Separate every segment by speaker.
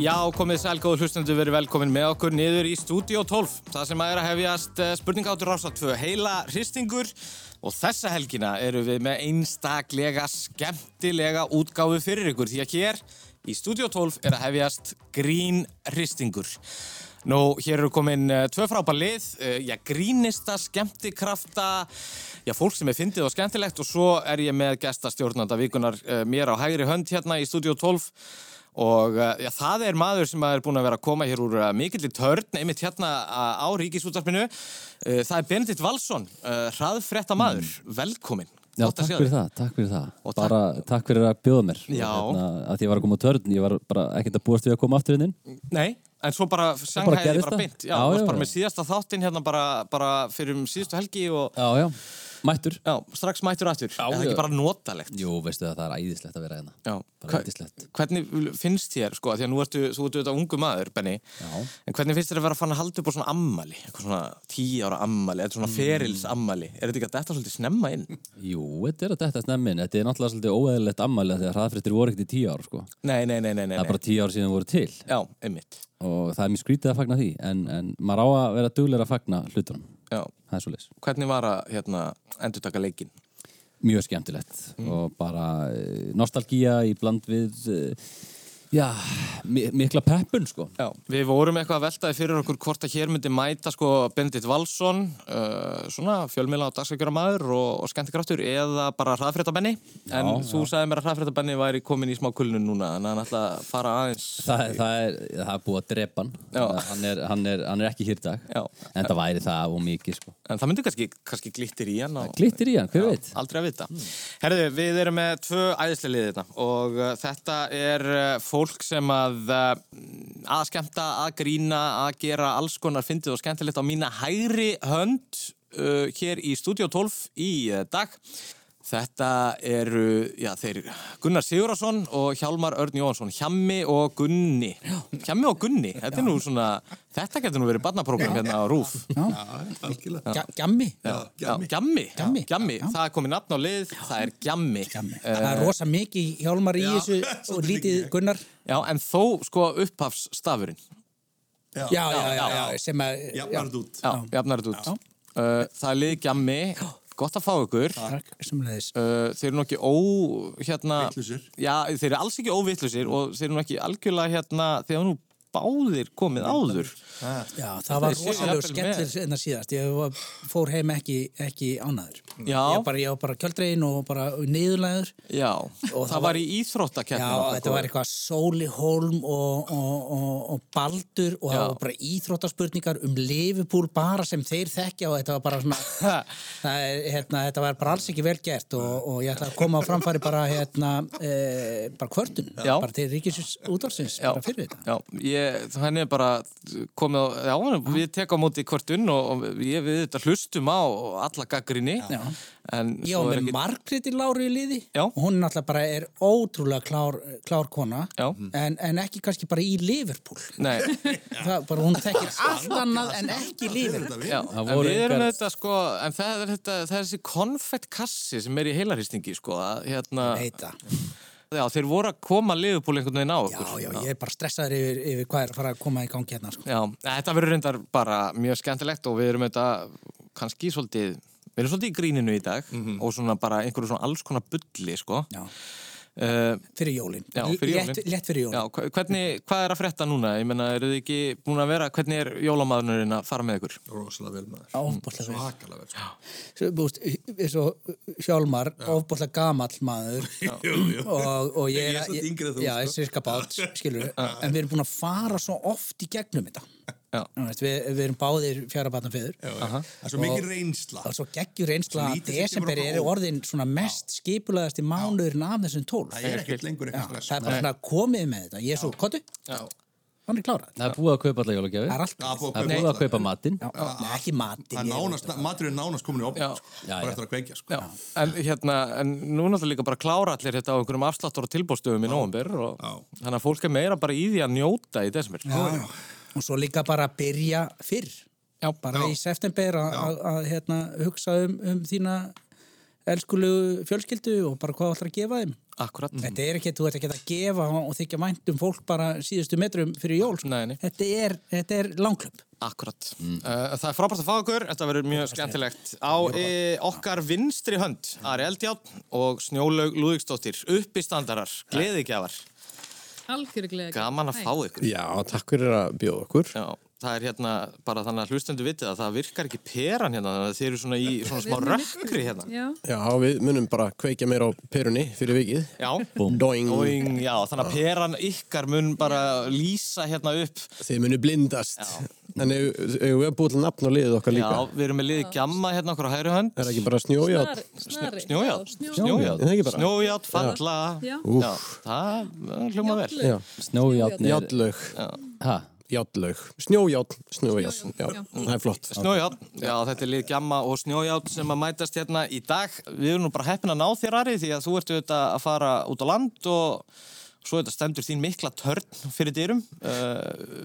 Speaker 1: Já, komið sælgóðu hlustendur verið velkomin með okkur niður í Studio 12. Það sem að er að hefjast eh, spurningáttur rása 2 heila hristingur og þessa helgina eru við með einstaklega skemmtilega útgáfu fyrir ykkur því að hér í Studio 12 er að hefjast grín hristingur. Nú, hér eru komin uh, tvö frábær lið, uh, já, grínista, skemmtikrafta, já, fólk sem er fyndið og skemmtilegt og svo er ég með gestastjórnanda vikunar uh, mér á hægri hönd hérna í Studio 12 og uh, já, það er maður sem er búin að vera að koma hér úr uh, mikillir törn, einmitt hérna uh, á Ríkisútarpinu. Uh, það er Benedikt Valsson, uh, hraðfretta maður. Velkomin.
Speaker 2: Mm. Já,
Speaker 1: Gott að
Speaker 2: takk
Speaker 1: sjá
Speaker 2: fyrir
Speaker 1: þig.
Speaker 2: það, takk fyrir það.
Speaker 1: Og
Speaker 2: bara takk fyrir að bjóða mér. Hérna,
Speaker 1: Já.
Speaker 2: að því ég var að koma á törn, ég var bara ekkert að búast við að koma aftur inn inn.
Speaker 1: Nei, en svo bara sanghæði
Speaker 2: gerðist
Speaker 1: bara
Speaker 2: það.
Speaker 1: beint.
Speaker 2: Já,
Speaker 1: Já, já,
Speaker 2: já,
Speaker 1: bara
Speaker 2: já.
Speaker 1: með síðasta þáttinn hérna bara, bara fyrir um síðustu helgi og
Speaker 2: Já, já. Mættur.
Speaker 1: já, strax mættur aftur. Já, það er
Speaker 2: já.
Speaker 1: ekki bara notalegt.
Speaker 2: Jú, veistu það, það er æðislegt að vera hérna.
Speaker 1: Já,
Speaker 2: Bara
Speaker 1: Hva-
Speaker 2: yndislegt.
Speaker 1: hvernig finnst þér, sko, af því að nú ertu, þú ert auðvitað ungu maður, Benny,
Speaker 2: Já.
Speaker 1: en hvernig finnst þér að vera fann að halda upp á svona ammali, eitthvað svona tíu ára ammali,
Speaker 2: Mm.
Speaker 1: eitthvað svona ferils ammali, er þetta ekki að þetta svolítið snemma inn?
Speaker 2: Jú, þetta er að þetta snemmin. Þetta er náttúrulega svolítið óæðilegt ammæli af því að hraðfrittir voru ekkert í tíu ár, sko.
Speaker 1: Nei, nei, nei, nei, nei,
Speaker 2: Það er bara tíu ár síðan voru til
Speaker 1: já, einmitt,
Speaker 2: og það er mjög skrítið að fagna því en, en maður á að vera duglegur að fagna hlutunum.
Speaker 1: já,
Speaker 2: Það er svolítið.
Speaker 1: hvernig var að, hérna, endur taka leikin?
Speaker 2: mjög skemmtilegt
Speaker 1: Mm.
Speaker 2: og bara eh, nostalgía í bland við eh, já, mi- mikla peppun sko
Speaker 1: Já, við vorum eitthvað að veltaði fyrir okkur hvort að hér myndi mæta sko Bendit Valsson, uh, svona fjölmiðla og dagskakjöra maður og, og skemmtikraftur eða bara hraðfréttabenni en þú sagði mér að hraðfréttabenni væri komin í smá kulnun núna en hann ætla að fara aðeins
Speaker 2: Þa, það, er, það er búið að drepa hann
Speaker 1: Já.
Speaker 2: hann er, hann, er, hann er ekki hér í dag
Speaker 1: Já.
Speaker 2: en það væri það og mikið sko
Speaker 1: en það myndi kannski, kannski glittir í hann á,
Speaker 2: glittir í hann, hver veit
Speaker 1: aldrei að vita Hmm. Herðu, við erum með tvö æðislega liðið þetta og uh, þetta er uh, fólk sem að uh, að skemmta, að grína að gera alls konar fyndið og skemmtilegt á mína hægri hönd uh, hér í Studio 12 í uh, dag Þetta eru, já, þeir Gunnar Sigurðarsson og Hjálmar Örn Jóhansson Hjammi og Gunni Hjammi og Gunni, þetta er nú svona þetta getur nú verið barnaprógram hérna á RÚF
Speaker 3: Algjörlega. Gja- Gjammi
Speaker 1: Já, Gjammi,
Speaker 3: Gjammi.
Speaker 1: Gjammi. það er komið nafn á lið, það er Gjammi
Speaker 3: Gjammi. Það er rosa mikið í hjálmar í þessu og lítið Gunnar
Speaker 1: Já, en þó sko upphafsstafurinn
Speaker 3: já, já, já, já, sem að já,
Speaker 4: Jafnarð út.
Speaker 1: Já, jafnar þetta út uh, Það er lið Gjammi, gott að fá ykkur uh,
Speaker 3: takk, Eh. sömuleiðis.
Speaker 1: Þeir eru nú ekki ó hérna,
Speaker 4: Vitlausir.
Speaker 1: Já, þeir eru alls ekki óvittlusir og þeir eru nú ekki algjörlega hérna þegar nú báðir komið áður
Speaker 3: já, það var
Speaker 1: Þeir séu jafnvel
Speaker 3: rosalega
Speaker 1: með.
Speaker 3: skellur en það síðast, ég var- fór heim ekki, ekki ánaður
Speaker 1: Já.
Speaker 3: ég var bara, ég var bara kjöldregin og bara niðurlæður
Speaker 1: Já,
Speaker 3: Og
Speaker 1: það,
Speaker 3: það
Speaker 1: var
Speaker 3: var-
Speaker 1: í
Speaker 3: Já,
Speaker 1: íþróttakeppnum
Speaker 3: þetta var eitthvað Sóli Holm og, og, og, og Baldur og
Speaker 1: Já.
Speaker 3: það var bara íþróttaspurningar um Liverpool bara sem þeir þekkja og þetta var bara svona það er, hérna, þetta var bara alls ekki vel gert og, og ég ætla að koma á framfæri bara hérna, e, bara kvörtun
Speaker 1: Já.
Speaker 3: bara til Ríkisins útvarsins
Speaker 1: Já.
Speaker 3: bara fyrir þetta
Speaker 1: Já, ég, henni er bara komið á, já, við tekum á móti hvert unn og, og ég, við þetta hlustum á alla gaggrinni.
Speaker 3: Já.
Speaker 1: En
Speaker 3: Já,
Speaker 1: svo
Speaker 3: með
Speaker 1: er
Speaker 3: ekki...
Speaker 1: ekki,
Speaker 3: Margréti Láru í liði
Speaker 1: Já.
Speaker 3: og hún náttúrulega bara er ótrúlega klár, klár kona
Speaker 1: Já.
Speaker 3: en, en ekki kannski bara í Liverpool
Speaker 1: nei,
Speaker 3: það, bara hún þekkir allt annað en ekki Liverpool
Speaker 1: já,
Speaker 2: Það
Speaker 1: en
Speaker 2: voru
Speaker 1: við erum
Speaker 2: engar-
Speaker 1: þetta sko, en það er þetta, það er þessi konfettkassi sem er í heilarýstingi sko, að hérna,
Speaker 3: Eita.
Speaker 1: já, þeir voru að koma liðupúl einhvern veginn á
Speaker 3: Já,
Speaker 1: okkur.
Speaker 3: já, ég er bara stressaður yfir, yfir hvað er að fara að koma í gangi hérna sko.
Speaker 1: Já, þetta verður reyndar bara mjög skemmtilegt og við erum þetta kannski svolítið, við erum svolítið í gríninu í dag og svona bara einhverju svona alls konar bulli sko.
Speaker 3: Mhm. Já.
Speaker 1: Uh,
Speaker 3: Fyrir jólin,
Speaker 1: Já, fyrir jólin.
Speaker 3: Létt, létt fyrir
Speaker 1: Já,
Speaker 3: jólin
Speaker 1: hva- hvernig, hvað er að frétta núna? Ég menna, eru þið ekki búin að vera, hvernig er jólamadurinn að fara með ykkur?
Speaker 4: Rósalega vel maður.
Speaker 3: Ofbóðlega
Speaker 1: Mm.
Speaker 3: vel
Speaker 4: Svakalega vel. sko.
Speaker 3: Svo, búst, eins og Hjálmar, ofbóðlega gamall maður
Speaker 4: Jú, jú.
Speaker 3: og, og ég
Speaker 4: Ég
Speaker 3: er
Speaker 4: er samt yngri en þú,
Speaker 3: Já,
Speaker 4: sko.
Speaker 3: ég er sirka bát, skilur En við erum búin að fara svo oft í gegnum þetta
Speaker 1: Já.
Speaker 3: Þú veist, við, við erum báðir fjara batna feður
Speaker 4: Það er svo mikið reynsla.
Speaker 3: og svo geggjur einsla
Speaker 4: Svo
Speaker 3: að
Speaker 4: lítið sem kemur
Speaker 3: desember
Speaker 4: okkur
Speaker 3: er
Speaker 4: á óvart.
Speaker 3: orðin svona mest skipulaðasti mánuðurinn af þessum tólf
Speaker 4: Það er ekkert lengur
Speaker 3: Já,
Speaker 4: eitthvað stress.
Speaker 3: það er bara svona komið með þetta ég er svo, kottu, hann er klárað
Speaker 2: það er búið að kaupa alla jólagjafir
Speaker 3: það er
Speaker 4: Það er
Speaker 3: allt
Speaker 2: það er
Speaker 4: búið
Speaker 2: búið að
Speaker 4: að kaupa.
Speaker 2: kaupa matinn
Speaker 3: Já, já, nei, ekki matinn
Speaker 4: Það er
Speaker 3: ég-
Speaker 4: nánast, maturinn er nánast komin í
Speaker 1: Já.
Speaker 4: opnum.
Speaker 2: Já,
Speaker 4: sko. Bara
Speaker 2: já.
Speaker 4: eftir að kveikja, sko.
Speaker 1: Já, en hérna, en nú náttúrulega líka bara klára allir þetta á einhverjum afsláttur og tilbúrstöfum í nóvumber og
Speaker 4: Já.
Speaker 1: þannig að fólk er meira bara í því að njóta í desember.
Speaker 3: Já, og svo líka bara að byrja fyrr
Speaker 1: Já,
Speaker 3: bara
Speaker 4: Já.
Speaker 3: í september að- að að, hérna, hugsa um, um þína elskulu fjölskyldu og bara hvað ætlar að gefa þeim
Speaker 1: Akkurat.
Speaker 4: Mhm.
Speaker 3: þetta er ekki, þú ert ekki að gefa og þykja vænt um fólk bara síðustu metrum fyrir jól sko.
Speaker 1: Nei, nei.
Speaker 3: þetta er, þetta er langklöp
Speaker 1: Akkurat. Uh, það er frábært að fá okkur, þetta verður mjög skemmtilegt. Á e, okkar vinstri hönd, Ari Eldjátt og Snjólaug Lúðvíksdóttir, uppistandarar, gleðigjafar.
Speaker 5: Algjörglega.
Speaker 1: Gaman að fá ykkur.
Speaker 6: Já, takk fyrir að bjóða okkur.
Speaker 1: Já, það er hérna bara þannig að hlustendu vitið að það virkar ekki peran hérna, þannig að þeir eru svona í svona smá rökkri hérna.
Speaker 5: Já,
Speaker 6: Já, við munum bara kveikja meira á perunni fyrir vikið.
Speaker 1: Já,
Speaker 6: Doing.
Speaker 1: Óing, já, þannig að peran ykkar mun bara lýsa hérna upp.
Speaker 6: Þið munum blindast. En ef ef við erum búið til nafn og liðið okkar
Speaker 1: Já,
Speaker 6: líka.
Speaker 1: við erum með liði gjamma hérna okkur á hægri hönd.
Speaker 6: Er það ekki bara snjójátt?
Speaker 5: snari. snari.
Speaker 1: Snjójátt,
Speaker 5: Já, snjó.
Speaker 1: snjójátt,
Speaker 6: Er það ekki bara?
Speaker 1: snjójátt, falla.
Speaker 5: Já.
Speaker 1: Já, það það hljóma vel.
Speaker 5: Jafnvel.
Speaker 6: Já.
Speaker 2: Snjójátn er...
Speaker 6: Játlaug.
Speaker 2: Ha?
Speaker 6: Játlaug. Snjójátn. Snjójátn. Já, það er flott.
Speaker 1: Snjójátt, já þetta er lið Gjamma og Snjójátt sem að mætast hérna í dag Við erum nú bara heppin að ná þér Ari því að þú ert auðvitað að fara út á land og svo auðvitað stendur þín mikla törn fyrir dyrum uh,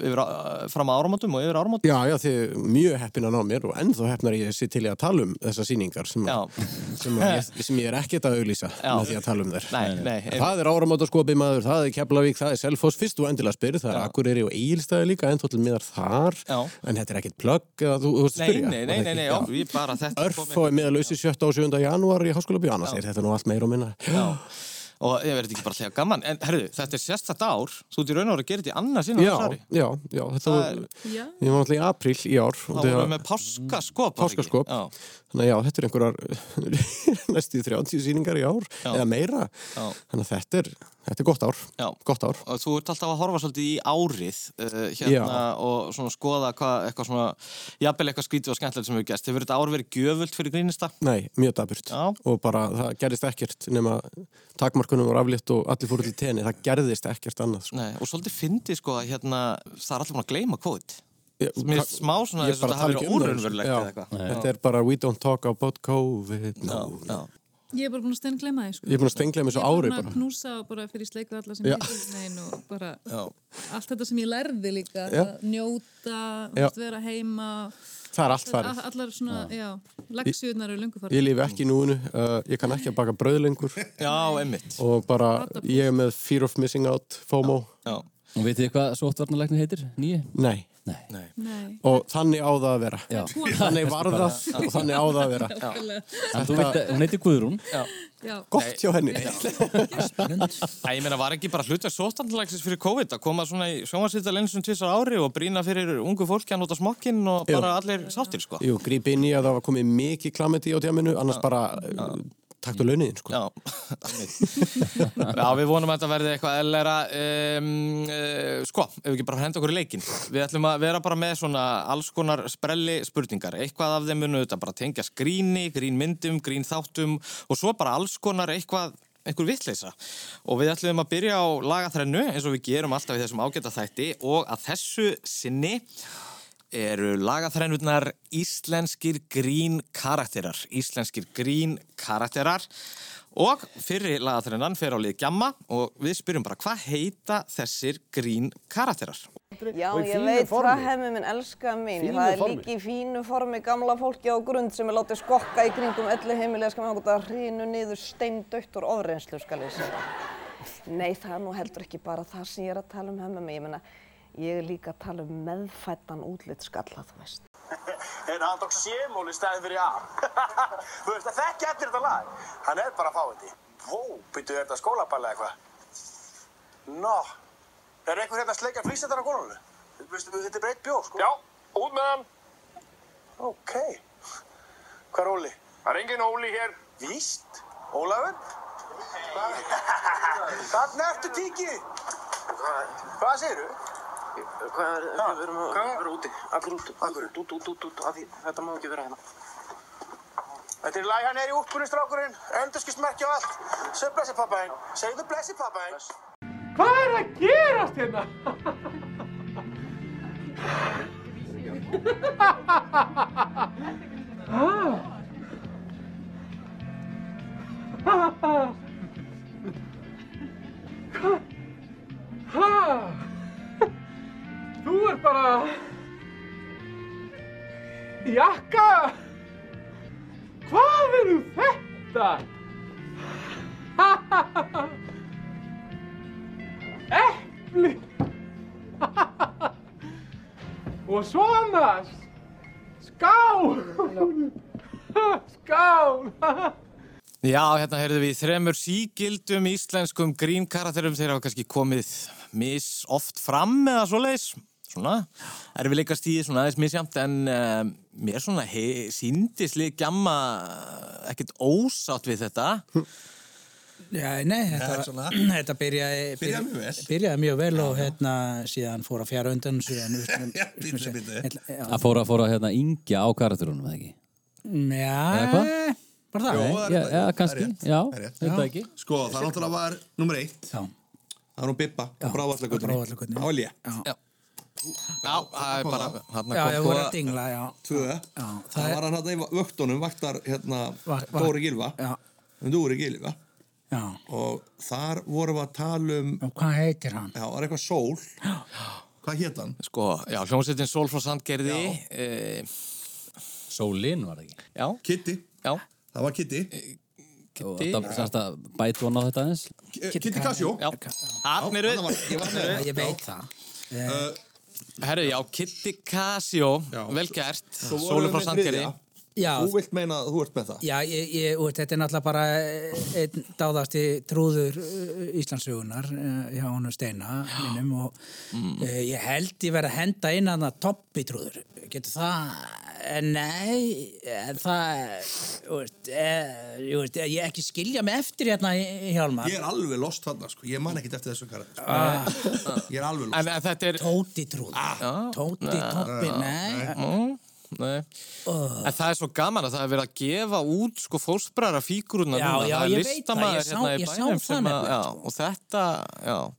Speaker 1: yfir, á- fram að áramótum og yfir áramótum
Speaker 6: Já, já, þið er mjög heppin að ná mér og ennþá heppnar ég sér til í að tala um þessar sýningar sem, að-
Speaker 1: Já.
Speaker 6: sem, að ég, sem ég er ekkert að auglýsa með því að tala um þær.
Speaker 1: Nei, nei,
Speaker 6: En Það er áramótaskopi maður, það er Keflavík, það er Selfoss, fyrst og endilega spyrð, það er Akureyri og Egilstaði líka, en tóttil miðar þar,
Speaker 1: Já.
Speaker 6: en þetta er ekkert plögg að þú, þú veist að
Speaker 1: nei,
Speaker 6: spyrja.
Speaker 1: nei, nei, nei, nei, já, við bara þetta
Speaker 6: Örf og er meðalauðsir 7. og 7. janúar í Háskóla Björn, annars er þetta nú allt meira og minna.
Speaker 1: Já, og ég verði ekki bara hlega gaman En herðu, þetta er sérstætt ár, þú ert í raun og verið að gera þetta í annars inn á
Speaker 6: Já,
Speaker 1: þessu ári
Speaker 6: já, já, þetta
Speaker 1: Það
Speaker 6: var,
Speaker 1: er-
Speaker 5: Já.
Speaker 6: ég var náttúrulega í apríl í ár, og
Speaker 1: Þá
Speaker 6: þegar-
Speaker 1: vorum við með páskaskop var það ekki?
Speaker 6: páskaskop,
Speaker 1: Já.
Speaker 6: þannig að já, þetta er einhverjar næstu 30 sýningar í ár, eða meira,
Speaker 1: Já.
Speaker 6: þannig að þetta er, þetta er gott ár,
Speaker 1: Já.
Speaker 6: gott ár.
Speaker 1: og þú ert alltaf að horfa svolítið í árið uh, hérna
Speaker 6: Já.
Speaker 1: og svona skoða hvað, eitthvað svona, jafnvel eitthvað skrítið og skemmtilegt sem hefur gæst. Hefur þetta ár verið gjöfult fyrir grínista?
Speaker 6: Nei, mjög daburt
Speaker 1: Já.
Speaker 6: og bara það gerðist ekkert nema takmarkunum var aflétt og allir fóru til tenni það gerðist ekkert annað sko.
Speaker 1: Nei, og svolítið fyndið sko að hérna, það er allir búin að gleyma kvót.
Speaker 6: Ég-
Speaker 1: Mér
Speaker 6: ta-
Speaker 1: finnst smá svona
Speaker 6: ég
Speaker 1: þess að
Speaker 6: bara tala
Speaker 1: þetta hafi
Speaker 6: ekki
Speaker 1: verið
Speaker 6: um það,
Speaker 1: órunverulegt
Speaker 6: já.
Speaker 1: eða eitthvað.
Speaker 6: Þetta er bara we don't talk about COVID no.
Speaker 1: Já.
Speaker 5: Ég er bara búin að stein glemma þig, sko.
Speaker 6: Ég er búin að stengla mig svo ári
Speaker 5: Ég er búin
Speaker 6: bara
Speaker 5: að knúsa og bara fyrir sleiku alla sem
Speaker 6: Já.
Speaker 5: ég er og bara
Speaker 1: Já.
Speaker 5: allt þetta sem ég lærði líka,
Speaker 6: Já.
Speaker 5: að njóta, þú
Speaker 6: Já.
Speaker 5: veist, vera heima,
Speaker 6: Það er allt farið
Speaker 5: all- allar svona, já, leksjurnar eru lungu farið.
Speaker 6: Ég lifi ekki í núinu, uh, ég kann ekki að baka brauð lengur
Speaker 1: Já, emmitt.
Speaker 6: og bara ég er með fear of missing out FOMO,
Speaker 1: Já.
Speaker 2: Og vitið þið hvað sóttvarnalæknir heitir? Nýi?
Speaker 6: nei
Speaker 2: Nei.
Speaker 1: Nei.
Speaker 5: Nei,
Speaker 6: og þannig á það að vera þannig var það og þannig á það að vera
Speaker 2: En þú veit að hún heitir Guðrún.
Speaker 5: já,
Speaker 6: Gott hjá henni
Speaker 1: Æ, ég meina, var ekki bara hluta sótandalagsins fyrir COVID að koma svona í sjónvarsýttal eins og tvisar ári og brína fyrir ungu fólki að nota smokkinn og
Speaker 6: Jú.
Speaker 1: bara allir sáttir, sko.
Speaker 6: Jú, gríp inn í að það var komið mikið klamiti á tjáminu, annars bara ja. takt og launiðin, sko.
Speaker 1: Já, já, við vonum að þetta verði eitthvað ellera um, uh, sko, ef við ekki bara henda okkur í leikinn við ætlum að vera bara með svona alls konar sprelli spurningar, eitthvað af þeim munu þetta bara tengja skríni, grínmyndum grínþáttum og svo bara alls konar eitthvað einhver vittleisa og við ætlum að byrja á lagaþrennu eins og við gerum alltaf í þessum ágæta þætti og að þessu sinni eru lagaþrennurnar íslenskir grín karakterar íslenskir grín karakterar og fyrri lagaþrennan fer á lið Gjamma og við spyrjum bara hvað heita þessir grín karakterar
Speaker 7: Já,
Speaker 8: og í
Speaker 7: ég
Speaker 8: fínu
Speaker 7: veit
Speaker 8: formi.
Speaker 7: það hemmi minn elska mín.
Speaker 8: Fínu
Speaker 7: það er
Speaker 8: formi.
Speaker 7: líka í fínu formi gamla fólki á grund sem er látið skokka í kringum elli heimilega skal maður að hrínu niður steindautt úr ofreynslu skal ég segja. Nei, það er nú heldur ekki bara það sem ég er að tala um hemmi minn. Ég meina, ég er líka að tala um meðfættan útlitt skalla, þú veist.
Speaker 8: En hann tók sémól í staðin fyrir A. Þú veist að þekkja allir þetta lag. Hann er bara fáiði. Vó, byttu er þetta skólaballa eða eitthvað? Nó, er einhver hérna að sleika flýsendar á gólunum? Veistu, þetta er bara eitt bjór, sko? Já, út með hann. Ok. Hvað er Óli? Það er engin Óli hér. Víst. Ólafur? Þarna ertu tíki. Hvað segirðu?
Speaker 9: Hvað er,
Speaker 8: Ha,
Speaker 9: við verum að
Speaker 8: hvað?
Speaker 9: vera úti, allir úti,
Speaker 8: Akkur?
Speaker 9: út, út, út, út, af því þetta má ekki vera hérna.
Speaker 8: Þetta er læg hann er í úlpunni strákurinn. Endurskismerki og allt. Segðu blessi pappaðinn. Segðu blessi pappaðinn.
Speaker 10: Hvað er að gerast hérna? Þú ert bara... Jakka! Hvað er nú þetta? Epli! Og svona! Skál! Skál!
Speaker 1: Já, hérna heyrðum við í þremur sígildum íslenskum grínkarakterum þeir hafa kannski komið mis oft fram eða svoleiðis svona, erum við leikast í svona aðeins misjamt en uh, mér svona he- sýndislega gjamma ekkert ósátt við þetta
Speaker 3: Já, nei, þetta, þetta byrjaði,
Speaker 1: Byrjaði mjög vel.
Speaker 3: byrjaði mjög vel og hérna síðan fór að fjara undan síðan utanum, já,
Speaker 2: Að fóra, fóra hérna yngja á karakterunum, eða ekki? Eða
Speaker 3: já,
Speaker 2: hvað?
Speaker 3: bara það
Speaker 2: Nei, já, já, kannski, já, þetta ekki
Speaker 4: Sko, það náttúrulega var nummer eitt
Speaker 3: Já.
Speaker 4: Það var hún Bippa, á brávallagutinni Það var lé
Speaker 1: Já, það er bara hann
Speaker 3: já, já, voru að dingla, já
Speaker 4: Tvö Það var hann hérna í vöktunum, vaktar hérna
Speaker 3: Vak- vak-
Speaker 4: Dóri Gilva En Dóri Gilva
Speaker 3: Já.
Speaker 4: Og þar vorum við að tala um
Speaker 3: Og hvað heitir hann?
Speaker 4: Já, það var eitthvað sól Hvað hét hann?
Speaker 1: Sko, já, hljómsveitin Sól frá Sandgerði e,
Speaker 2: Sólin var það ekki
Speaker 1: Já,
Speaker 4: Kitty
Speaker 1: já,
Speaker 4: Það var Kitty
Speaker 2: Og þetta var sérst að bæta hún á þetta aðeins
Speaker 4: Kitty Casio
Speaker 1: já Hann eru
Speaker 4: þarna var- ég var með
Speaker 3: Ég veit það
Speaker 1: Herru, já, Kitty Casio
Speaker 4: Já.
Speaker 1: Vel gert,
Speaker 4: Svo vorum
Speaker 1: Sólu
Speaker 4: við
Speaker 1: frá
Speaker 4: með
Speaker 1: Sandgerði
Speaker 4: þriðja.
Speaker 3: Já,
Speaker 4: Þú vilt meina að þú ert með það?
Speaker 3: já ég, ég, og þetta er náttúrulega bara eh, einn dáðasti trúður eh, Íslandsugunar eh, hjá honum Steina minnum og
Speaker 4: Mm.
Speaker 3: eh, ég held ég verið að henda inn hann að toppi trúður getur það Eh, nei, eh, það þú veist, eh, ég veist, eh, ég ekki skilja mig eftir hérna Hjálmar
Speaker 4: Ég er alveg lost þarna, sko. Ég man ekkert eftir þessu karakter. sko. Ég er alveg
Speaker 1: En
Speaker 4: lost.
Speaker 1: en þetta er
Speaker 3: Tóti trúður
Speaker 4: Ah.
Speaker 3: Tóti, toppi, nei
Speaker 1: Mm, Nei. En það er svo gaman að það er verið að gefa út sko fósbrara fíguruna
Speaker 3: Já,
Speaker 1: núna.
Speaker 3: já,
Speaker 1: það er
Speaker 3: ég veit það, ég
Speaker 1: listamaður
Speaker 3: sá-
Speaker 1: hérna í
Speaker 3: ég sá
Speaker 1: bænum
Speaker 3: það
Speaker 1: sem að,
Speaker 3: nefnilega,
Speaker 1: já, og þetta, já,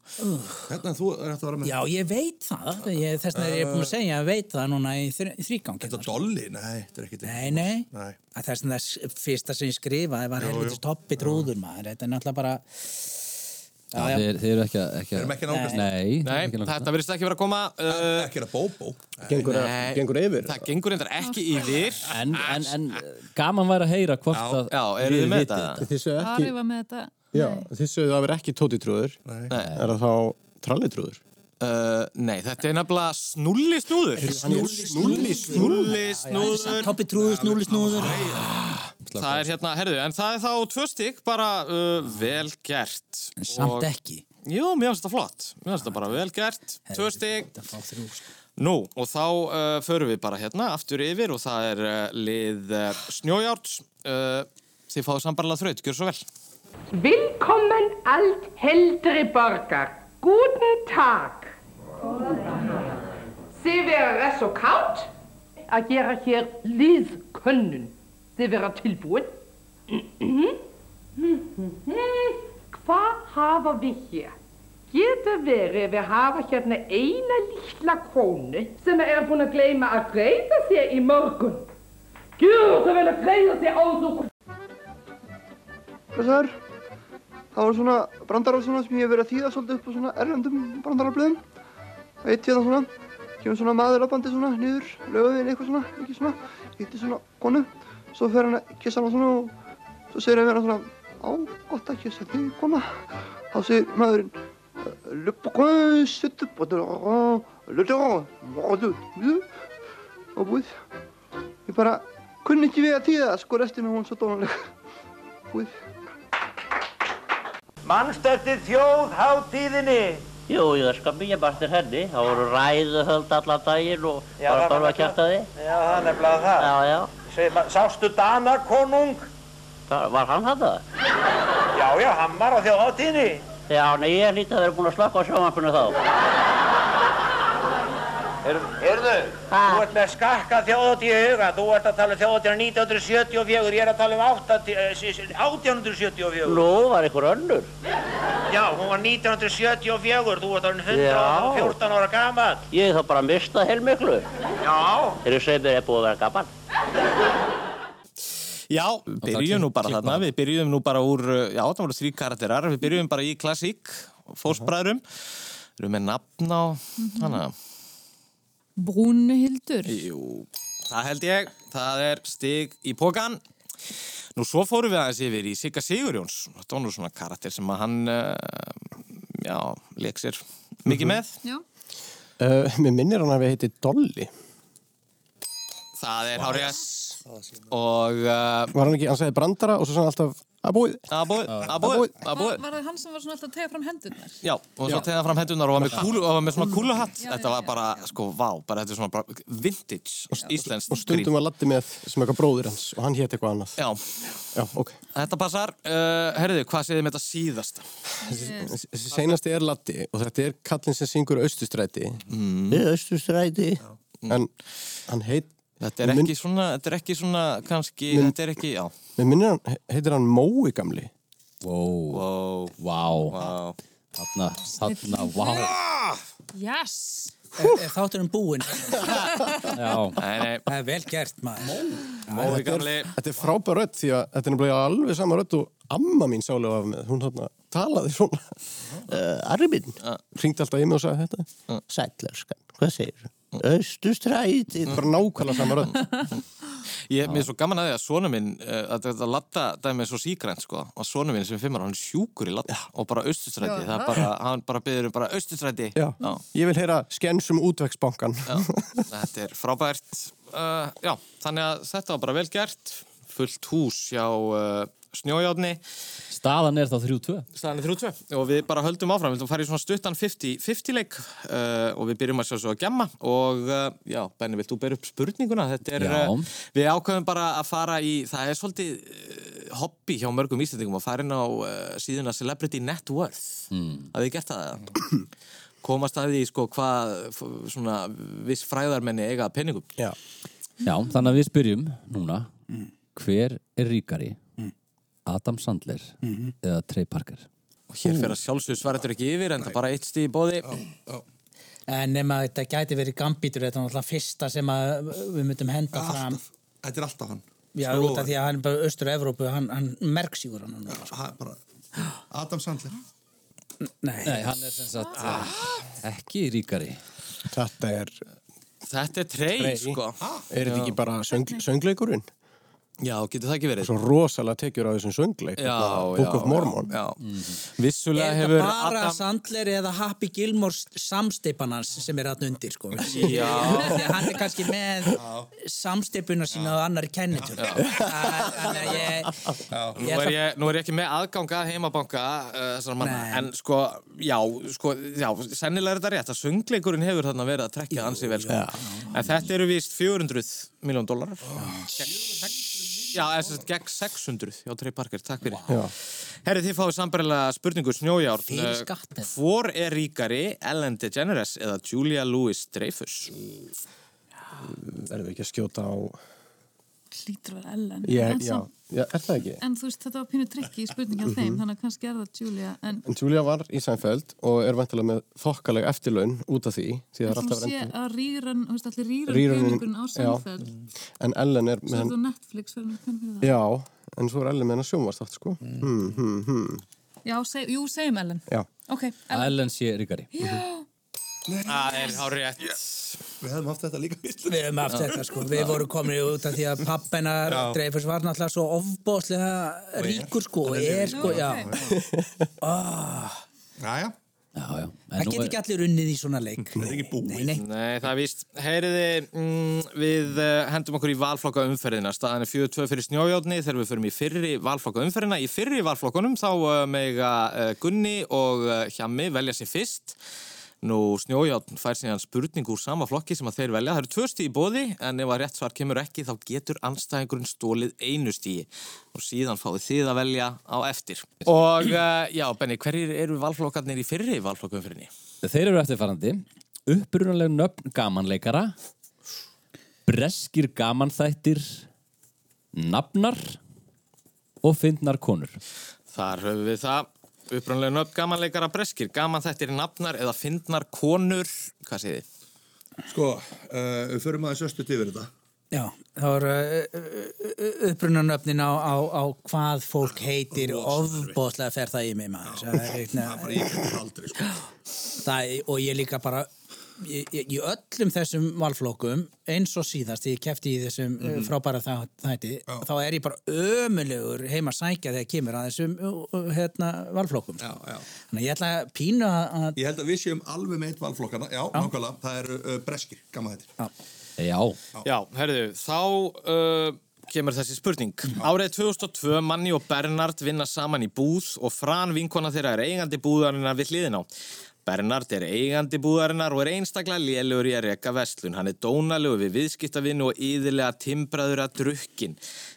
Speaker 4: Hérna, þú er eftir að vera með
Speaker 3: Já, ég veit það, ég, þess vegna er ég búin að segja að ég veit það núna í þr þrýgangi
Speaker 4: Ah. þetta dolli. Nei, þetta er ekkert.
Speaker 3: Nei, nei,
Speaker 4: Nei.
Speaker 3: Að þess vegna s- fyrsta sem ég skrifaði var helvitis toppi trúður maður, þetta er náttúrulega bara Já, já,
Speaker 2: Þeir þeir eru ekki að Þeir
Speaker 4: Erum ekki að nálgast.
Speaker 2: Nei, þeir eru
Speaker 1: nei,
Speaker 2: ekki að nálgast.
Speaker 1: þetta verðist ekki verið að koma, uh,
Speaker 4: Ekki er að bóbó.
Speaker 6: Gengur,
Speaker 1: Nei.
Speaker 6: gengur yfir
Speaker 1: það gengur reyndar ekki yfir.
Speaker 2: En, en, en gaman væri að heyra hvort að
Speaker 1: Já, eru þið með þetta?
Speaker 6: Þið sögðu
Speaker 5: Ari
Speaker 6: ekki,
Speaker 5: var með þetta
Speaker 6: já, þið sögðu að það veri ekki tótitrúður Er það þá trallitrúður?
Speaker 1: Uh, nei, þetta er nefnilega snulli snúður. Snulli snúður. Snulli snúður.
Speaker 3: toppi trúður, snúli snúður
Speaker 1: Það er hérna, herðu, en það er þá tvö stygg bara uh, vel gert.
Speaker 3: En samt
Speaker 1: Og-
Speaker 3: ekki
Speaker 1: Jú, mér finnst þetta flott. Mér finnst þetta bara vel gert. Tvö stygg.
Speaker 3: Þetta fá þrjú sko.
Speaker 1: Nú, og þá uh, förum við bara hérna aftur yfir og það er uh, lið uh, Snjójárns. Uh, þið fáðu sambarlega þraut, gjör svo vel.
Speaker 10: Willkommen alt heldre borgar. Guten Tag. Sie wäre so kalt að gera hér liðkönnun. Þið vera tilbúin. Hvað hafa við hér? Getur verið við hafa hérna eina lítla konu sem er búin að gleyma að breyta sér í morgun. Gjör það vel að breyta sér ásúk
Speaker 11: Þessar, það voru svona brandarar svona sem ég hef verið að þýða svolítið upp á svona erlendum brandararblöðum. Og eitt hérna svona, kemur svona maður labbandi svona niður, lögðin eitthvað svona, ekki svona, hitti svona konu. Svo fer hann að kissa hann svona og svo segir hann vera svona, á, gott að kissa þig, kona. Þá segir maðurinn, löpukon, suttu, bóttur, löttur, mordur, og búið. Ég bara kunni ekki við að þýða, það, sko restina hún svo dónaleg. Búið.
Speaker 12: Manst eftir þjóðháttíðinni? Jú, ég er skammi, ég manst eftir henni. Það voru ræðuhöld allan daginn og
Speaker 9: Já,
Speaker 12: bara
Speaker 9: það var
Speaker 12: bara að kjarta því.
Speaker 9: Já, það er nefnilega það.
Speaker 12: Já, já.
Speaker 9: Segir maður, sástu Danakonung?
Speaker 12: Það, var hann hann það?
Speaker 9: Já, já, hann var á þjóðháttíðinni.
Speaker 12: Já, nei, ég hlýtti að vera búin að slökka á sjónvarpinu þá.
Speaker 9: Heyrðu, þú ert með skakka þjóðháttíð í huga. Þú ert að tala um þjóðháttíðina 1974, ég er að tala um 80 eh, sí- sí- 1874.
Speaker 12: Nú var einhver önnur.
Speaker 9: Já, hún var 1974, þú ert orðin 114 ára gamall.
Speaker 12: Ég hef þá bara mistað heilmiklu.
Speaker 9: Já,
Speaker 12: Þeir eru segið mér er búið að vera gaman.
Speaker 1: Já, byrjum nú bara þarna. Við byrjum nú bara úr, uh, já, það voru þrý karakterar. Við byrjum bara í klassík, fórsbræðurum. Við erum með nafn á,
Speaker 3: Mhm.
Speaker 1: hana,
Speaker 5: Brúnhildur
Speaker 1: jú, það held ég. Það er stig í pókan. Nú svo fórum við aðeins yfir í Sigga Sigurjóns. Þetta var nú svona karakter sem að hann, uh, já, leik sér
Speaker 6: Mhm.
Speaker 1: mikið með.
Speaker 5: Já.
Speaker 6: Uh, mér minnir hann að við heiti Dolly.
Speaker 1: Það er Háriðas og... Uh,
Speaker 6: Var hann ekki, hann sagði brandara og svo sagði hann alltaf að búið.
Speaker 1: Abúið, abúið,
Speaker 5: Var,
Speaker 1: abúið.
Speaker 5: var það hann sem var svona alltaf að tega fram hendunar?
Speaker 1: Já, og svo
Speaker 5: Já.
Speaker 1: tegða fram hendunar og var með, kúlu, og var með svona kúluhatt.
Speaker 5: Já,
Speaker 1: Þetta var bara, sko, vá, bara þetta er svona bara vintage íslenskt
Speaker 6: Og stundum var Latti með sem eitthvað bróðir hans og hann hétt eitthvað annað.
Speaker 1: Já.
Speaker 6: Já, ok.
Speaker 1: Þetta passar. Uh, herriðu, hvað segðum þetta síðasta?
Speaker 6: Þessi seinasti er Latti og þetta er kallinn sem syngur Östustræti.
Speaker 1: Mm.
Speaker 6: Við Östustræti. En hann heit...
Speaker 1: Þetta er ekki svona, þetta er ekki svona, kannski,
Speaker 6: Mynd-
Speaker 1: þetta er ekki, já.
Speaker 6: Mér minnir hann, he- heitir hann Mói gamli.
Speaker 1: Wow.
Speaker 2: Wow.
Speaker 1: wow.
Speaker 2: Þarna, þarna, wow.
Speaker 5: Yes!
Speaker 3: Er, er þátturinn búinn?
Speaker 2: Já.
Speaker 1: Nei, nei.
Speaker 3: Það er vel gert maður.
Speaker 6: Þetta er- Þetta er frábær rödd því að þetta er bara alveg sama rödd og amma mín sálega var með. Hún þarna talaði svona. Uh, Arri minn. Ringdi alltaf í mig og sagði þetta. Uh. Sætlarskan, hvað segir þú? Östustræti. Bara nákvæmlega sama rödd.
Speaker 1: Ég mér er svo gaman að því að sonu minn uh, að þetta latta dæmi er svo sígrænt sko og sonu minn sem er fimmar, hann er sjúkur í latta og bara austustræti,
Speaker 6: Já.
Speaker 1: það er bara, hann bara byður um bara austustræti
Speaker 6: Já. Ég vil heyra um skensum útvegsbankan.
Speaker 1: Þetta er frábært uh, Já, þannig að þetta var bara vel gert fullt hús hjá uh, snjójáðni
Speaker 2: Staðan er þá 3-2
Speaker 1: Staðan er 3-2 og við bara höldum áfram, við ætlum að fara í svona stuttan 50-50 leik uh, og við byrjum að sjá svo að gemma og uh, já, Benni, vilt þú byrja upp spurninguna? Þetta er,
Speaker 2: Já.
Speaker 1: uh, við ákveðum bara að fara í, það er svolítið uh, hobby hjá mörgum íslendingum að fara inn á uh, síðuna Celebrity Net Worth
Speaker 2: mm.
Speaker 1: að þið gert það eða? komast að því sko hvað f- svona viss fræðarmenni eiga að penningum
Speaker 6: Já,
Speaker 2: Já, þannig að við spyrjum núna Hver er ríkari? Adam Sandler eða Trey Parker?
Speaker 1: og hér fyrir að sjálfsögur svaraður ekki yfir en það er bara eitt stíð í bóði
Speaker 3: En nema þetta gæti verið gambítur, þetta er náttúrulega fyrsta sem að við myndum henda fram.
Speaker 4: Þetta er alltaf hann. Sko,
Speaker 3: Já,
Speaker 4: Slóvar.
Speaker 3: út af því að hann er bara austur-Evrópu, hann, hann merksýgur hann. núna, sko.
Speaker 4: Ha, bara, Adam Sandler.
Speaker 3: Nei.
Speaker 2: Nei, hann er sem sagt ah. ekki ríkari
Speaker 6: Þetta er
Speaker 1: Þetta er trey,
Speaker 6: Trey.
Speaker 1: sko
Speaker 6: Er þetta
Speaker 1: Já.
Speaker 6: ekki bara söng, söngleikurinn?
Speaker 1: Já, getur það ekki verið
Speaker 6: Svo rosalega tekjur Hérna á þessum söngleik
Speaker 1: Já,
Speaker 6: þarna, Book
Speaker 1: já,
Speaker 6: of Mormon
Speaker 1: já,
Speaker 3: Mhm. Er
Speaker 1: Vissulega
Speaker 3: þetta
Speaker 1: hefur
Speaker 3: bara
Speaker 1: Adam
Speaker 3: Sandler eða Happy Gilmore samsteipan hans sem er alltaf undir, sko.
Speaker 1: Já.
Speaker 3: Þegar hann er kannski með samsteipuna sína á annari kennitur. Þannig að ég...
Speaker 1: Nú er, ég, nú er ég ekki með aðganga heimabanka uh, þessara manna, en sko, já, sko, já, sennilega er þetta rétt að söngleikurinn hefur þarna verið að trekja ansi vel, sko. En þetta eru víst 400 miljón dólarar. Já, eða sem sagt gegn 600 hjá Trey Parker, takk fyrir.
Speaker 6: Já.
Speaker 1: Herri, þið fáið sambarilega spurningu snjójárn. Eh,
Speaker 3: Fyrir skattinn.
Speaker 1: Hvor er ríkari Ellen DeGeneres eða Julia Louis-Dreyfus?
Speaker 6: Erum við ekki að skjóta á
Speaker 5: Lítur var Ellen.
Speaker 6: ég,
Speaker 5: En
Speaker 6: já,
Speaker 5: samt-
Speaker 6: já, er það ekki?
Speaker 5: En þú veist, þetta var pínu trikki í spurningi á þeim,
Speaker 6: Mhm.
Speaker 5: þannig að kannski er það Julia, en
Speaker 6: En Julia var í Seinfeld og er vantilega með þokkaleg eftirlaun út af því því það er
Speaker 5: þú
Speaker 6: alltaf
Speaker 5: sé
Speaker 6: verið
Speaker 5: að rýran, þú veist, allir rýran
Speaker 6: Rýraninn-
Speaker 5: peningun á
Speaker 6: já.
Speaker 5: samfell.
Speaker 6: En Ellen er
Speaker 5: Svo
Speaker 6: með
Speaker 5: er þú
Speaker 6: henn
Speaker 5: Netflix verður með peningun fyrir það.
Speaker 6: Já, en svo er Ellen með henn að sjónvast átt sko
Speaker 1: Mm.
Speaker 6: hmm, hmm, hmm.
Speaker 5: Já, seg, jú, segjum Ellen.
Speaker 6: Já.
Speaker 5: Ok,
Speaker 2: Að
Speaker 5: Ellen.
Speaker 2: Ellen sé ríkari
Speaker 5: Já.
Speaker 1: Það er hár rétt.
Speaker 4: Við hefðum haft þetta líka.
Speaker 3: Við hefum haft þetta sko, við vorum komin út af því að pappina
Speaker 4: Já.
Speaker 3: Dreyfus var náttúrulega svo ofbóðslega ríkur sko, og er sko, já.
Speaker 4: Jæja.
Speaker 2: Já, já.
Speaker 3: Það get ekki allir unnið í svona leik. Það
Speaker 4: er ekki búið.
Speaker 3: Nei, nei.
Speaker 1: Nei, það er víst. Heyriði, mm, við uh, hendum okkur í valflokka umferðina. Staðan er 42 fyrir snjójárni þegar við förum í fyrri valflokka umferðina. Í fyrri valflokkunum þá uh, mega uh, Gunni og uh, Hjami velja sér fyrst. Nú, snjójárn fær síðan spurning úr sama flokki sem að þeir velja. Það eru tvö stíð í bóði, en ef að rétt svar kemur ekki, þá getur anstæðingurinn stólið einu stíði. Og síðan fáið þið að velja á eftir. Og uh, já, Benni, hverjir eru valflokkarnir í fyrri valflokkumfyrinni?
Speaker 2: Þeir eru eftirfarandi upprunaleg nöfn gamanleikara breskir gamanþættir nafnar og fyndnar konur
Speaker 1: Þar höfum við það. Upprannlega nöfn gamanleikara breskir. Gaman þetta er nafnar eða fyndnar konur. Hvað segir þið?
Speaker 4: Sko, uh, við förum aðeins östu yfir þetta.
Speaker 3: Já, þá eru eh, upprunanöfnin á, á, á hvað fólk heitir ofbóðslega fer það í mig maður. Það er,
Speaker 4: Það er bara, ég get það aldrei, sko.
Speaker 3: það, og ég líka bara í, í í öllum þessum valflókum eins og síðast, ég kefti í þessum mm
Speaker 13: Mhm.
Speaker 3: frábæra þá- þætti þá er ég bara ömulegur heima að sækja þegar kemur að þessum uh, hérna, valflókum já, já. þannig að ég ætla að pínu að
Speaker 4: Ég held að við séum alveg meitt valflokkana, já, nákvæmlega, það eru uh, breskir, gamma þetta.
Speaker 2: Já.
Speaker 1: Já, herðu, þá uh, kemur þessi spurning. Árið 2002 Manni og Bernard vinna saman í búð og Fran vinkona þeirra er eigandi búðarinnar við hliðin á. Bernard er eigandi búðarinnar og er einstaklega lélugur í að reka vestlun. Hann er dónalegur við viðskiptavinn og yðurlega timbraður að drukkin.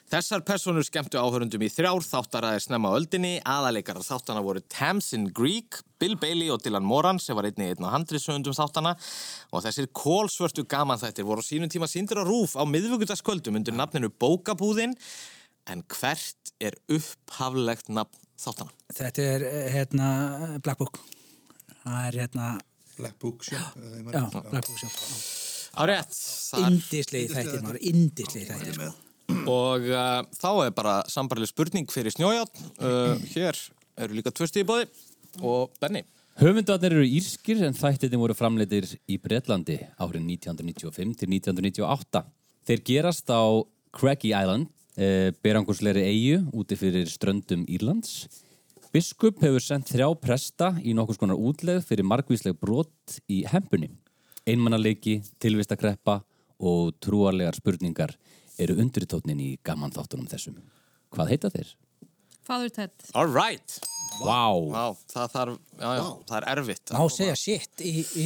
Speaker 1: Þessar personur skemmtu áhörundum í þrjár þáttaræðir snemma á öldinni. Aðaleikar þáttana voru Tamsin Greek, Bill Bailey og Dylan Moran sem var einnig einn af handriðsögundum þáttana og þessir kólsvörtu gamanþættir voru á sínum tíma síndir á rúf á miðvöggudaskvöldum undir nafninu Bókabúðin en hvert er upphaflegt nafn þáttana?
Speaker 3: þetta er eh, hérna, Black Book það er hérna
Speaker 4: Black Book Shop eða ég
Speaker 3: já,
Speaker 4: man-
Speaker 3: Black Book Shop
Speaker 1: Á rétt þar-
Speaker 3: Indislegir þættir, maður, indislegir þættir sko.
Speaker 1: Og uh, þá er bara sambarleg spurning fyrir snjójátt uh, Hér eru líka tvö stíði bóði og Benni
Speaker 2: Höfundarnir eru írskir en þættirnir voru framleitir í Bretlandi árið 1995 til 1998. Þeir gerast á Craigie Island, eh, berangursleiri eigu úti fyrir ströndum Írlands. Biskup hefur sendt þrjá presta í nokkurs konar útlegð fyrir margvísleg brot í hempunni. Einmannaleiki, tilvistakreppa og trúarlegar spurningar eru undirtótnin í gamanþáttunum þessum. Hvað heita þeir?
Speaker 5: Father Ted
Speaker 1: All right
Speaker 2: Vá wow.
Speaker 1: það, þarf, já, já, það er erfitt
Speaker 3: má segja shit í, í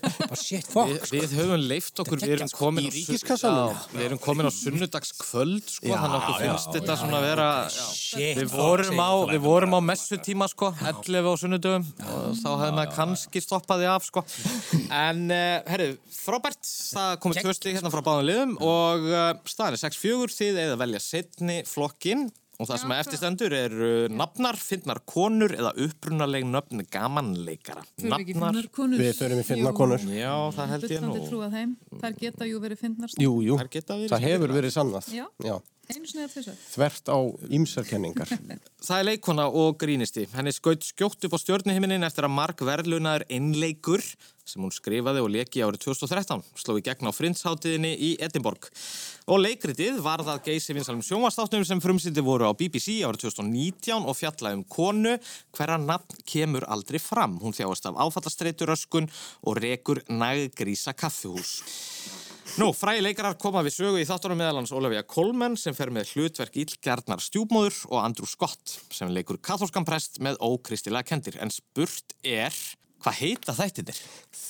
Speaker 3: bara shit fuck
Speaker 1: Við, við höfum leift okkur, við erum komin
Speaker 3: Sko, í ríkiskassanum.
Speaker 1: Við erum komin á sunnudagskvöld sko,
Speaker 3: Já,
Speaker 1: þannig að okkur
Speaker 3: já,
Speaker 1: finnst þetta
Speaker 3: já,
Speaker 1: svona
Speaker 3: já.
Speaker 1: vera
Speaker 3: Shit,
Speaker 1: Við
Speaker 3: fuck,
Speaker 1: vorum
Speaker 3: segir
Speaker 1: á,
Speaker 3: þú.
Speaker 1: við vorum á messutíma sko, 11 á sunnudöfum og þá hefði maður kannski stoppaði af sko. En, uh, herru, frábært það komið tvö stík hérna frá báðum liðum og uh, staðan er 6-4 þið eða velja setni flokkin og það sem er eftirstendur eru nafnar, finnar konur eða upprunaleg nöfn gamanleikara.
Speaker 5: Förum við ekki í finnar konur? Við förum í
Speaker 6: finnar konur.
Speaker 1: Já, það held ég
Speaker 5: Bullandi
Speaker 1: nú.
Speaker 5: trú að þeim Þær geta jú verið fyndnar
Speaker 6: Jú, jú,
Speaker 1: Þær geta verið
Speaker 6: það hefur verið sannað.
Speaker 5: Já.
Speaker 6: Já.
Speaker 5: Einu sinni eða tvisar
Speaker 6: Þvert á ímsarkenningar.
Speaker 1: Það er leikona og grínisti. Henni skaut skjótt upp á stjórnuhiminin eftir að Mark verðlunaður einleikur sem hún skrifaði og leki árið 2013 sló í gegn á frindsháttiðinni í Edinborg. Og leikritið var það geysi vinsalum sjónvastáttum sem frumsýndi voru á BBC árið 2019 og fjallaði um konu hverra nafn kemur aldrei fram. Hún þjáast af áfallastreituröskun og rekur næggrísa kaffihús. Nú, fræði leikarar koma við sögu í þáttunum meðalans Ólafía Kolmen sem fer með hlutverk Ílgarnar stjúpmóður og Andrew Scott sem leikur katholskan prest með ókristilega kendir. En spurt er, hvað heita þættinir?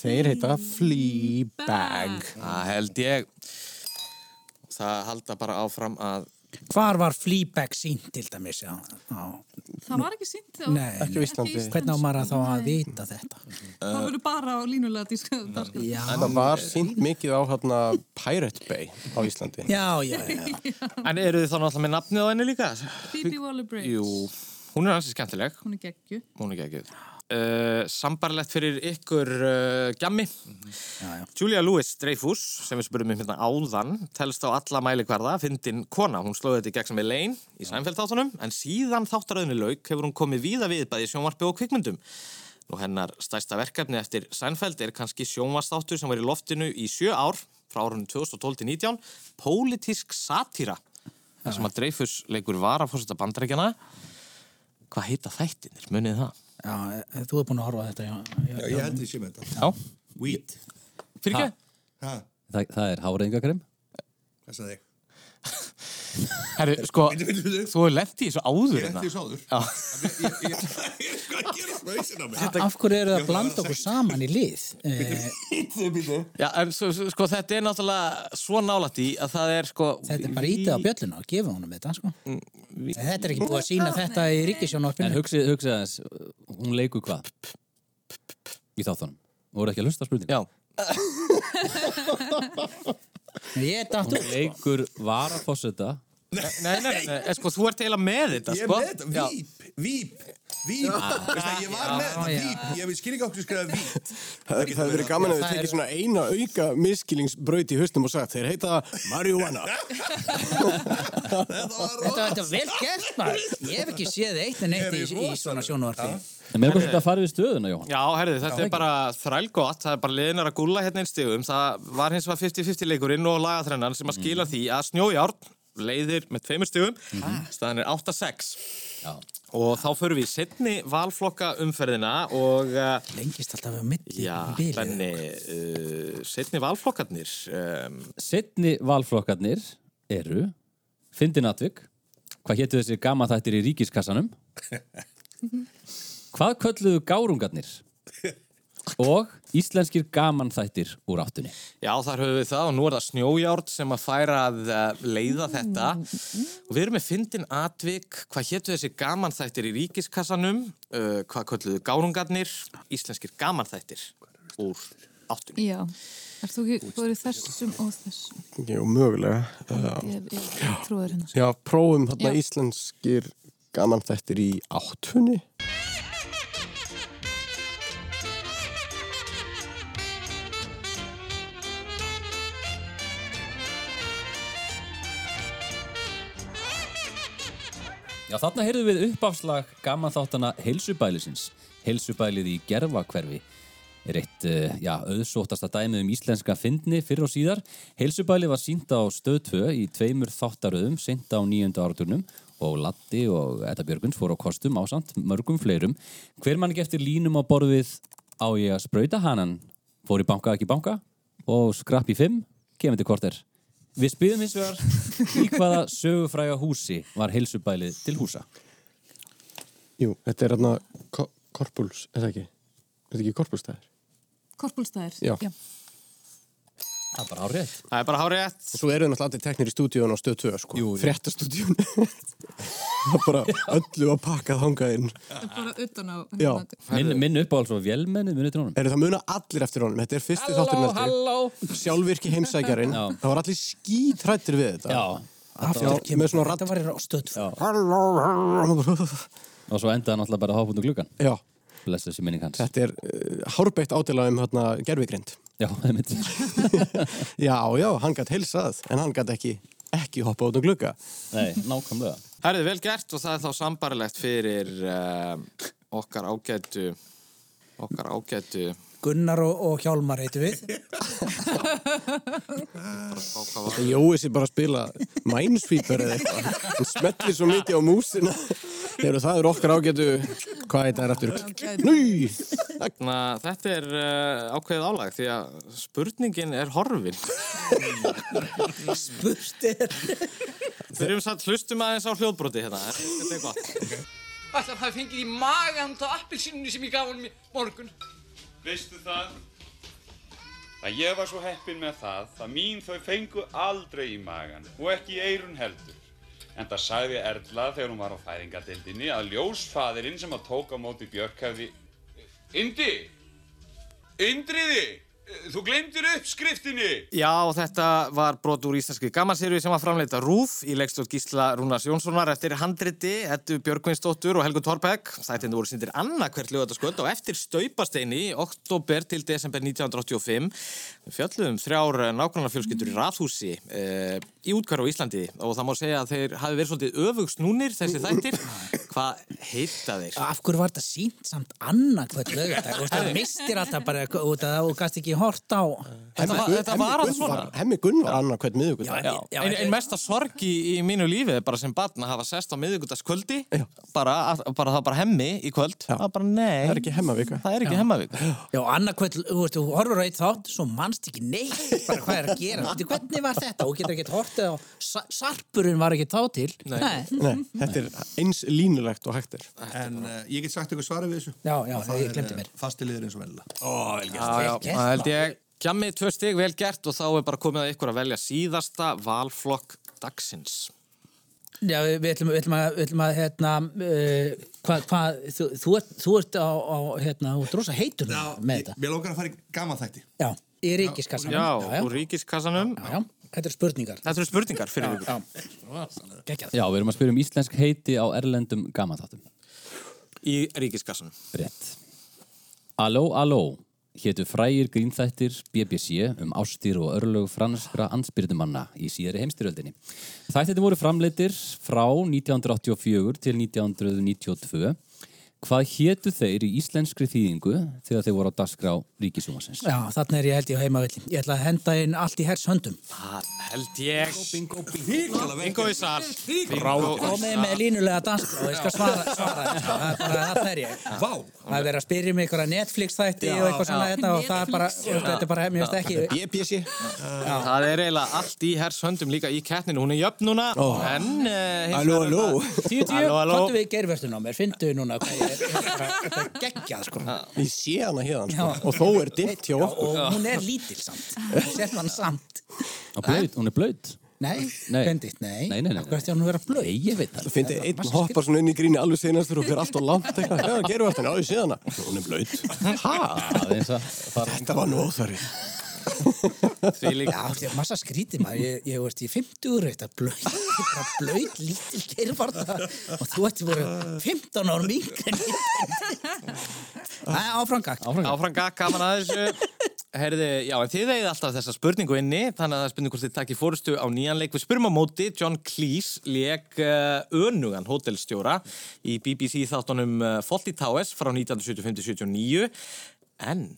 Speaker 6: Þeir heita
Speaker 1: Mm.
Speaker 6: Fleabag.
Speaker 1: Það held ég, það halda bara áfram að...
Speaker 3: hvar var Fleabag sínt til dæmis já, já.
Speaker 5: Það var ekki sínt þá
Speaker 3: Nei, nei. hvernig á maður að þá að vita þetta
Speaker 5: Það verður bara á línulega diska
Speaker 3: Já.
Speaker 6: Það var sínt mikið á hérna Pirate Bay á Íslandi.
Speaker 1: En eru þið þá náttúrulega með nafnið á henni líka?
Speaker 5: Phoebe Waller-Bridge
Speaker 1: Jú, hún er hansi skemmtileg.
Speaker 5: Hún er geggju
Speaker 1: Hún er geggjöð. Uh, sambarlegt fyrir ykkur uh, gjammi Julia Louis-Dreyfus sem við spurum um hérna áðan telst á alla mælikvarða, fyndin kona hún slóði þetta í gegn sem Elaine í Sænfjöldþáttunum en síðan þáttaröðinu lauk hefur hún komið víða við bæði í sjónvarpi og kvikmyndum og hennar stærsta verkefni eftir Sænfeld er kannski sjónvarstáttur sem var í loftinu í sjö ár frá árunum 2012-19 Pólitísk satýra þar sem að Dreyfus leikur varafórseta bandarækjana Hvað heita þættinir, munið þið það?
Speaker 3: já, eh, þú er búin að horfa á þetta já,
Speaker 4: Já, ég held ég sé með þetta.
Speaker 2: Já.
Speaker 4: Weed.
Speaker 1: Fyrir
Speaker 2: ekki?
Speaker 4: Ha,
Speaker 2: Þa, það er háreðingakrem.
Speaker 4: hvað sagði ég?
Speaker 1: Herru, sko, þú er lent í þessu
Speaker 4: Ég
Speaker 1: áður hérna.
Speaker 4: lenti í þessu áður.
Speaker 1: Já,
Speaker 3: af hverju eru það að blanda okkur saman í lið Eh,
Speaker 1: Já en svo, svo- sko, þetta er náttúrulega svo nálætt í að það er, sko...
Speaker 3: þetta er bara ítið á bjölluna og gefa honum þetta sko. þetta er ekki búið að sína þetta í
Speaker 2: En
Speaker 3: ríkisjónvarpinu
Speaker 2: hugsið hugsi aðeins, hún leikur hvað? Í þáttunum. Voru ekki að hlusta spurning?
Speaker 1: Já.
Speaker 3: Ég er dættu.
Speaker 2: Hún leikur varafosseta.
Speaker 1: Nei, nei, nei, nei, sko, þú ert eiginlega með þetta,
Speaker 4: Ég er
Speaker 1: sko.
Speaker 4: með þetta, víp, víp. Vít,
Speaker 6: Já.
Speaker 4: veist það, ég var
Speaker 6: Já,
Speaker 4: með þetta
Speaker 6: já.
Speaker 4: vít, ég skil ekki átt að skrifa vít.
Speaker 6: Það það hefur verið gaman að þið tekið svona eina auka miskilingsbraut í haustum og sagt þeir heita marihuana.
Speaker 3: Þetta þetta er vel gert maður. Ég hef ekki séð eitt en eitt í, í svona sjónvarpi.
Speaker 2: En mér er bara svolítið að fara við stöðuna, Jóhann.
Speaker 1: Já, herði, þetta
Speaker 2: Já.
Speaker 1: er bara þrælgott, það er bara liðinar að gulla hérna einn stigum. Það var hins vegar 50-50 leikurinn og lagatrennan sem
Speaker 4: Mm.
Speaker 1: að skila því að snjójárn leiðir með tveimur stigum,
Speaker 4: Mhm.
Speaker 1: Ah. staðan er 8-6.
Speaker 2: Já.
Speaker 1: Og þá förum við í setni valflokka umferðina og... eh,
Speaker 3: Lengist alltaf að milli.
Speaker 1: Já,
Speaker 3: bilið.
Speaker 1: þannig, uh, setni valflokkarnir. Um,
Speaker 2: Setni valflokkarnir eru Fyndin Atvik Hvað hétu þessir gama þættir í ríkiskassanum Hvað kölluðu gárungarnir Og íslenskir gaman þættir úr áttunni
Speaker 1: Já, þar höfum við það og nú er það snjójárn sem að færa að eh, leiða þetta og við erum með fyndin atvik, hvað hétu þessi gamanþættir í ríkiskassanum, uh, hvað kölluðu gárungarnir, íslenskir gamanþættir úr áttunni.
Speaker 5: Já, er þú ekki, þú eru þessum og þessum.
Speaker 6: Jú, mögulega. Já.
Speaker 5: Ég, ég, ég trúður hérna.
Speaker 6: Já, prófum þarna
Speaker 5: Já.
Speaker 6: íslenskir gaman þættir í áttunni.
Speaker 2: Já, þarna heyrðum við uppafslag gaman þáttana heilsubælisins Heilsubælið í gerfakverfi er eitt, uh, já, auðsóttasta dæmið um íslenska fyndni fyrr og síðar Heilsubælið var sínt á stöð 2 í tveimur þáttaröðum seint á nýjöndu áraturnum og Latti og Edda Björguns fóru á kostum ásamt mörgum fleirum Hver mann ekki eftir línum á borðið á ég að sprauta hanan fór í banka ekki banka og skrapp í 5 kemur til korter Við spyðum hins vegar í hvaða sögufræga húsi var heilsubælið til húsa.
Speaker 6: Jú, þetta er hérna ko korpuls, er það ekki? Er þetta ekki korpulstæðir?
Speaker 5: Korpúlstæðir.
Speaker 6: Já.
Speaker 2: Það er bara hárið.
Speaker 1: Það er bara hárétt.
Speaker 6: Svo eru náttúrulega allir teknir í stúdíun og stöð 2, sko. Jú, jú. Fréttastúdíun. það er bara öllu að pakka þangað inn.
Speaker 5: Það er bara utan á...
Speaker 6: Já.
Speaker 2: Minn, minn upp á alls og vélmennið minn eftir honum.
Speaker 6: Eru það muna allir eftir honum? Þetta er fyrsti
Speaker 2: Halló,
Speaker 6: þátturinn eftir.
Speaker 2: halló.
Speaker 6: Sjálfvirki heimsækjarinn.
Speaker 2: Já.
Speaker 6: Það var allir skítrættir við þetta.
Speaker 2: Já.
Speaker 6: Aftur kemur svona ratt.
Speaker 3: Þetta var í stöð.
Speaker 6: Halló, halló.
Speaker 2: Og svo endaði hann alltaf bara að hafa búin gluggan.
Speaker 6: Já.
Speaker 2: Blessa þessi minning hans.
Speaker 6: Þetta er uh, hárbeitt ádela um hérna, gerfigrind.
Speaker 2: Já, það er mitt.
Speaker 6: já, já, hann gætt heilsað, en hann gætt ekki, ekki hoppa út um glugga.
Speaker 2: Nei, nákvæmlega.
Speaker 1: Herðið vel gert og það er þá sambarlegt fyrir um, okkar ágætu, okkar ágætu,
Speaker 3: Gunnar og, og Hjálmar heitum við.
Speaker 1: Ó, hvað var-
Speaker 6: Þetta Jói sér bara að spila Minesweeper eða eitthvað. Hann smetlir svo mikið á músina. Þegar það eru okkar ágætu, hvað heit það er aftur? Núi!
Speaker 1: Þarna, Hérna, þetta er uh, ákveðið álag því að spurningin er horfin.
Speaker 3: Spurt er...
Speaker 1: Þurfum satt hlustum aðeins á hljóðbroti hérna. Þetta er gott.
Speaker 13: Ætlar það fengið í magan þá appilsinu sem ég gaf honum í morgun.
Speaker 14: Veistu það? Að ég var svo heppinn með það að mín þau fengu aldrei í magan og ekki í eirun heldur. En það sagði Erla þegar hún var á fæðingadeildinni að ljósfaðirinn sem að tók á móti Björk hefði... Indi! Indriði! Þú glemdir uppskriftinni!
Speaker 1: Já, og þetta var brot úr íslenski gamanserju sem var framleita Rúf í leikstótt Gísla Rúnars Jónssonar eftir handriti, Eddu Björgvinsdóttur og Helgu Torpeg. Þættindi voru síndir annarkvært lögataskvöld og eftir staupasteini í oktober til desember 1985 Við fjöllum þrjár nákvæmlega fjölskyldur í rafhúsi e, í útkværu á Íslandi og það má segja að þeir hafi verið svolítið öfugsnúnir þessi þættir. Hvað heita þeir?
Speaker 3: Af hverju var þetta sínt samt annað hvað lögðar? Þú veist, það mistir alltaf bara út að þú gast ekki hort á...
Speaker 1: Þetta var- þetta var alveg svona.
Speaker 6: Hemmi Gunn var annar hvern miðugudag.
Speaker 1: Já, ein, ein mesta sorg í, í mínu lífi er bara sem barn að hafa sest á miðvíkudagskvöldi bara, að- bara, það var bara hemmi í kvöld það var bara nei, það er
Speaker 6: ekki hemmavika
Speaker 1: það er ekki hemmavika
Speaker 3: Já, annarkvæmt, þú veist, þú horfur á eitt þátt svo mannst ekki neitt bara hvað er að gera Þú veist, hvernig var þetta, þú getur ekkert hortið á sa sarpurinn var ekki þá til
Speaker 6: Nei, þetta er eins línulegt og hægt er.
Speaker 4: En uh, ég get sagt eitthvað svarið við þessu.
Speaker 3: Já, já,
Speaker 4: Og það
Speaker 3: ég glemdi mér.
Speaker 4: Fastiliðir eins og venilega.
Speaker 1: Ó, vel
Speaker 4: gert.
Speaker 1: já, já,
Speaker 4: Vel gert,
Speaker 1: það held ég Gjammi, tvö stig, vel gert og þá er bara komið að ykkur að velja síðasta valflokk dagsins
Speaker 3: Já, við við ætlum, við ætlum að, við ætlum að hérna, uh, hvað, hva, þú, þú, ert, þú ert á, á hérna, þú ert rosa heitur já, með þetta
Speaker 4: Mér lókar að fara í gaman þætti.
Speaker 3: Já, í ríkiskassanum
Speaker 1: já, úr ríkiskassanum
Speaker 3: já, já. Þetta eru spurningar
Speaker 1: Þetta eru spurningar fyrir ykkur
Speaker 3: Já,
Speaker 2: Já, við erum að spyrja um íslensk heiti á erlendum gaman þáttum.
Speaker 1: í ríkiskassanum.
Speaker 2: Brett. Alló, alló, hétu frægir grínþættir BBC um ástir og örlög franskra ansbyrnumanna í síðari heimstyrjöldinni. Þættirnir voru framleittir frá 1984 til 1992. Hvað hétu þeir í íslenskri þýðingu þegar þeir voru á dagskrá ríkisúmasins?
Speaker 3: Já, þarna er ég held ég á heimavilli. Ég ætla að henda inn allt í hers höndum.
Speaker 1: Það held ég. Bingo, bingo, bingo. Bingo í sal.
Speaker 3: Komið með línulega danskrá, ég skal svara, svara þessu. Það er bara, það er ég.
Speaker 1: Vá.
Speaker 3: Það er verið að spyrja mig einhverja Netflix þætti og eitthvað svona þetta og það er bara, þetta er bara, mér finnst ekki.
Speaker 1: BBC. Það er eiginlega allt í hers höndum líka í kettninu. Hún er jöfn núna,
Speaker 3: Ó.
Speaker 1: en... Uh,
Speaker 3: Halló, halló. Tíu, tíu,
Speaker 1: Halló, halló.
Speaker 3: hvað við gervertum á mér? Fyndu núna hvað ég þetta er geggjað, sko.
Speaker 6: Ég sé hana hérna, sko.
Speaker 3: Já.
Speaker 6: og þó er dimmt hjá okkur.
Speaker 3: Og hún er lítil samt. Hún Sér mann samt.
Speaker 2: Blöð, hún er blöð.
Speaker 3: Nei,
Speaker 2: Nei.
Speaker 3: bendit, nei.
Speaker 2: Nei, nei, nei.
Speaker 3: Hvert er hún að vera blöð?
Speaker 2: Nei, ég veit það.
Speaker 6: Þú finnir einn hoppar svona inn í gríni alveg senastur og fyrir allt og langt eitthvað. Já, gerum við alltaf, já, ég sé hana. Hún er blöyt.
Speaker 2: Hæ?
Speaker 6: Þetta var nú óþarri.
Speaker 1: Því
Speaker 3: Já, þetta er massa skrítið maður. Ég, ég veist, ég er 50 úr þetta blöð, ég er bara blöð lítil gervarta og þú ert voru 15 árum yngri. en ég. Nei, áframgak.
Speaker 1: Áfram gakk, gaman að þessu. Herði, já, en þið eigið alltaf þessa spurningu inni, þannig að það er spurning hvort þið takkir fórustu á nýjan leik. Við spyrum á móti, John Cleese leik uh, önugan hótelstjóra í BBC þáttunum uh, Fawlty Towers frá 1975-79. En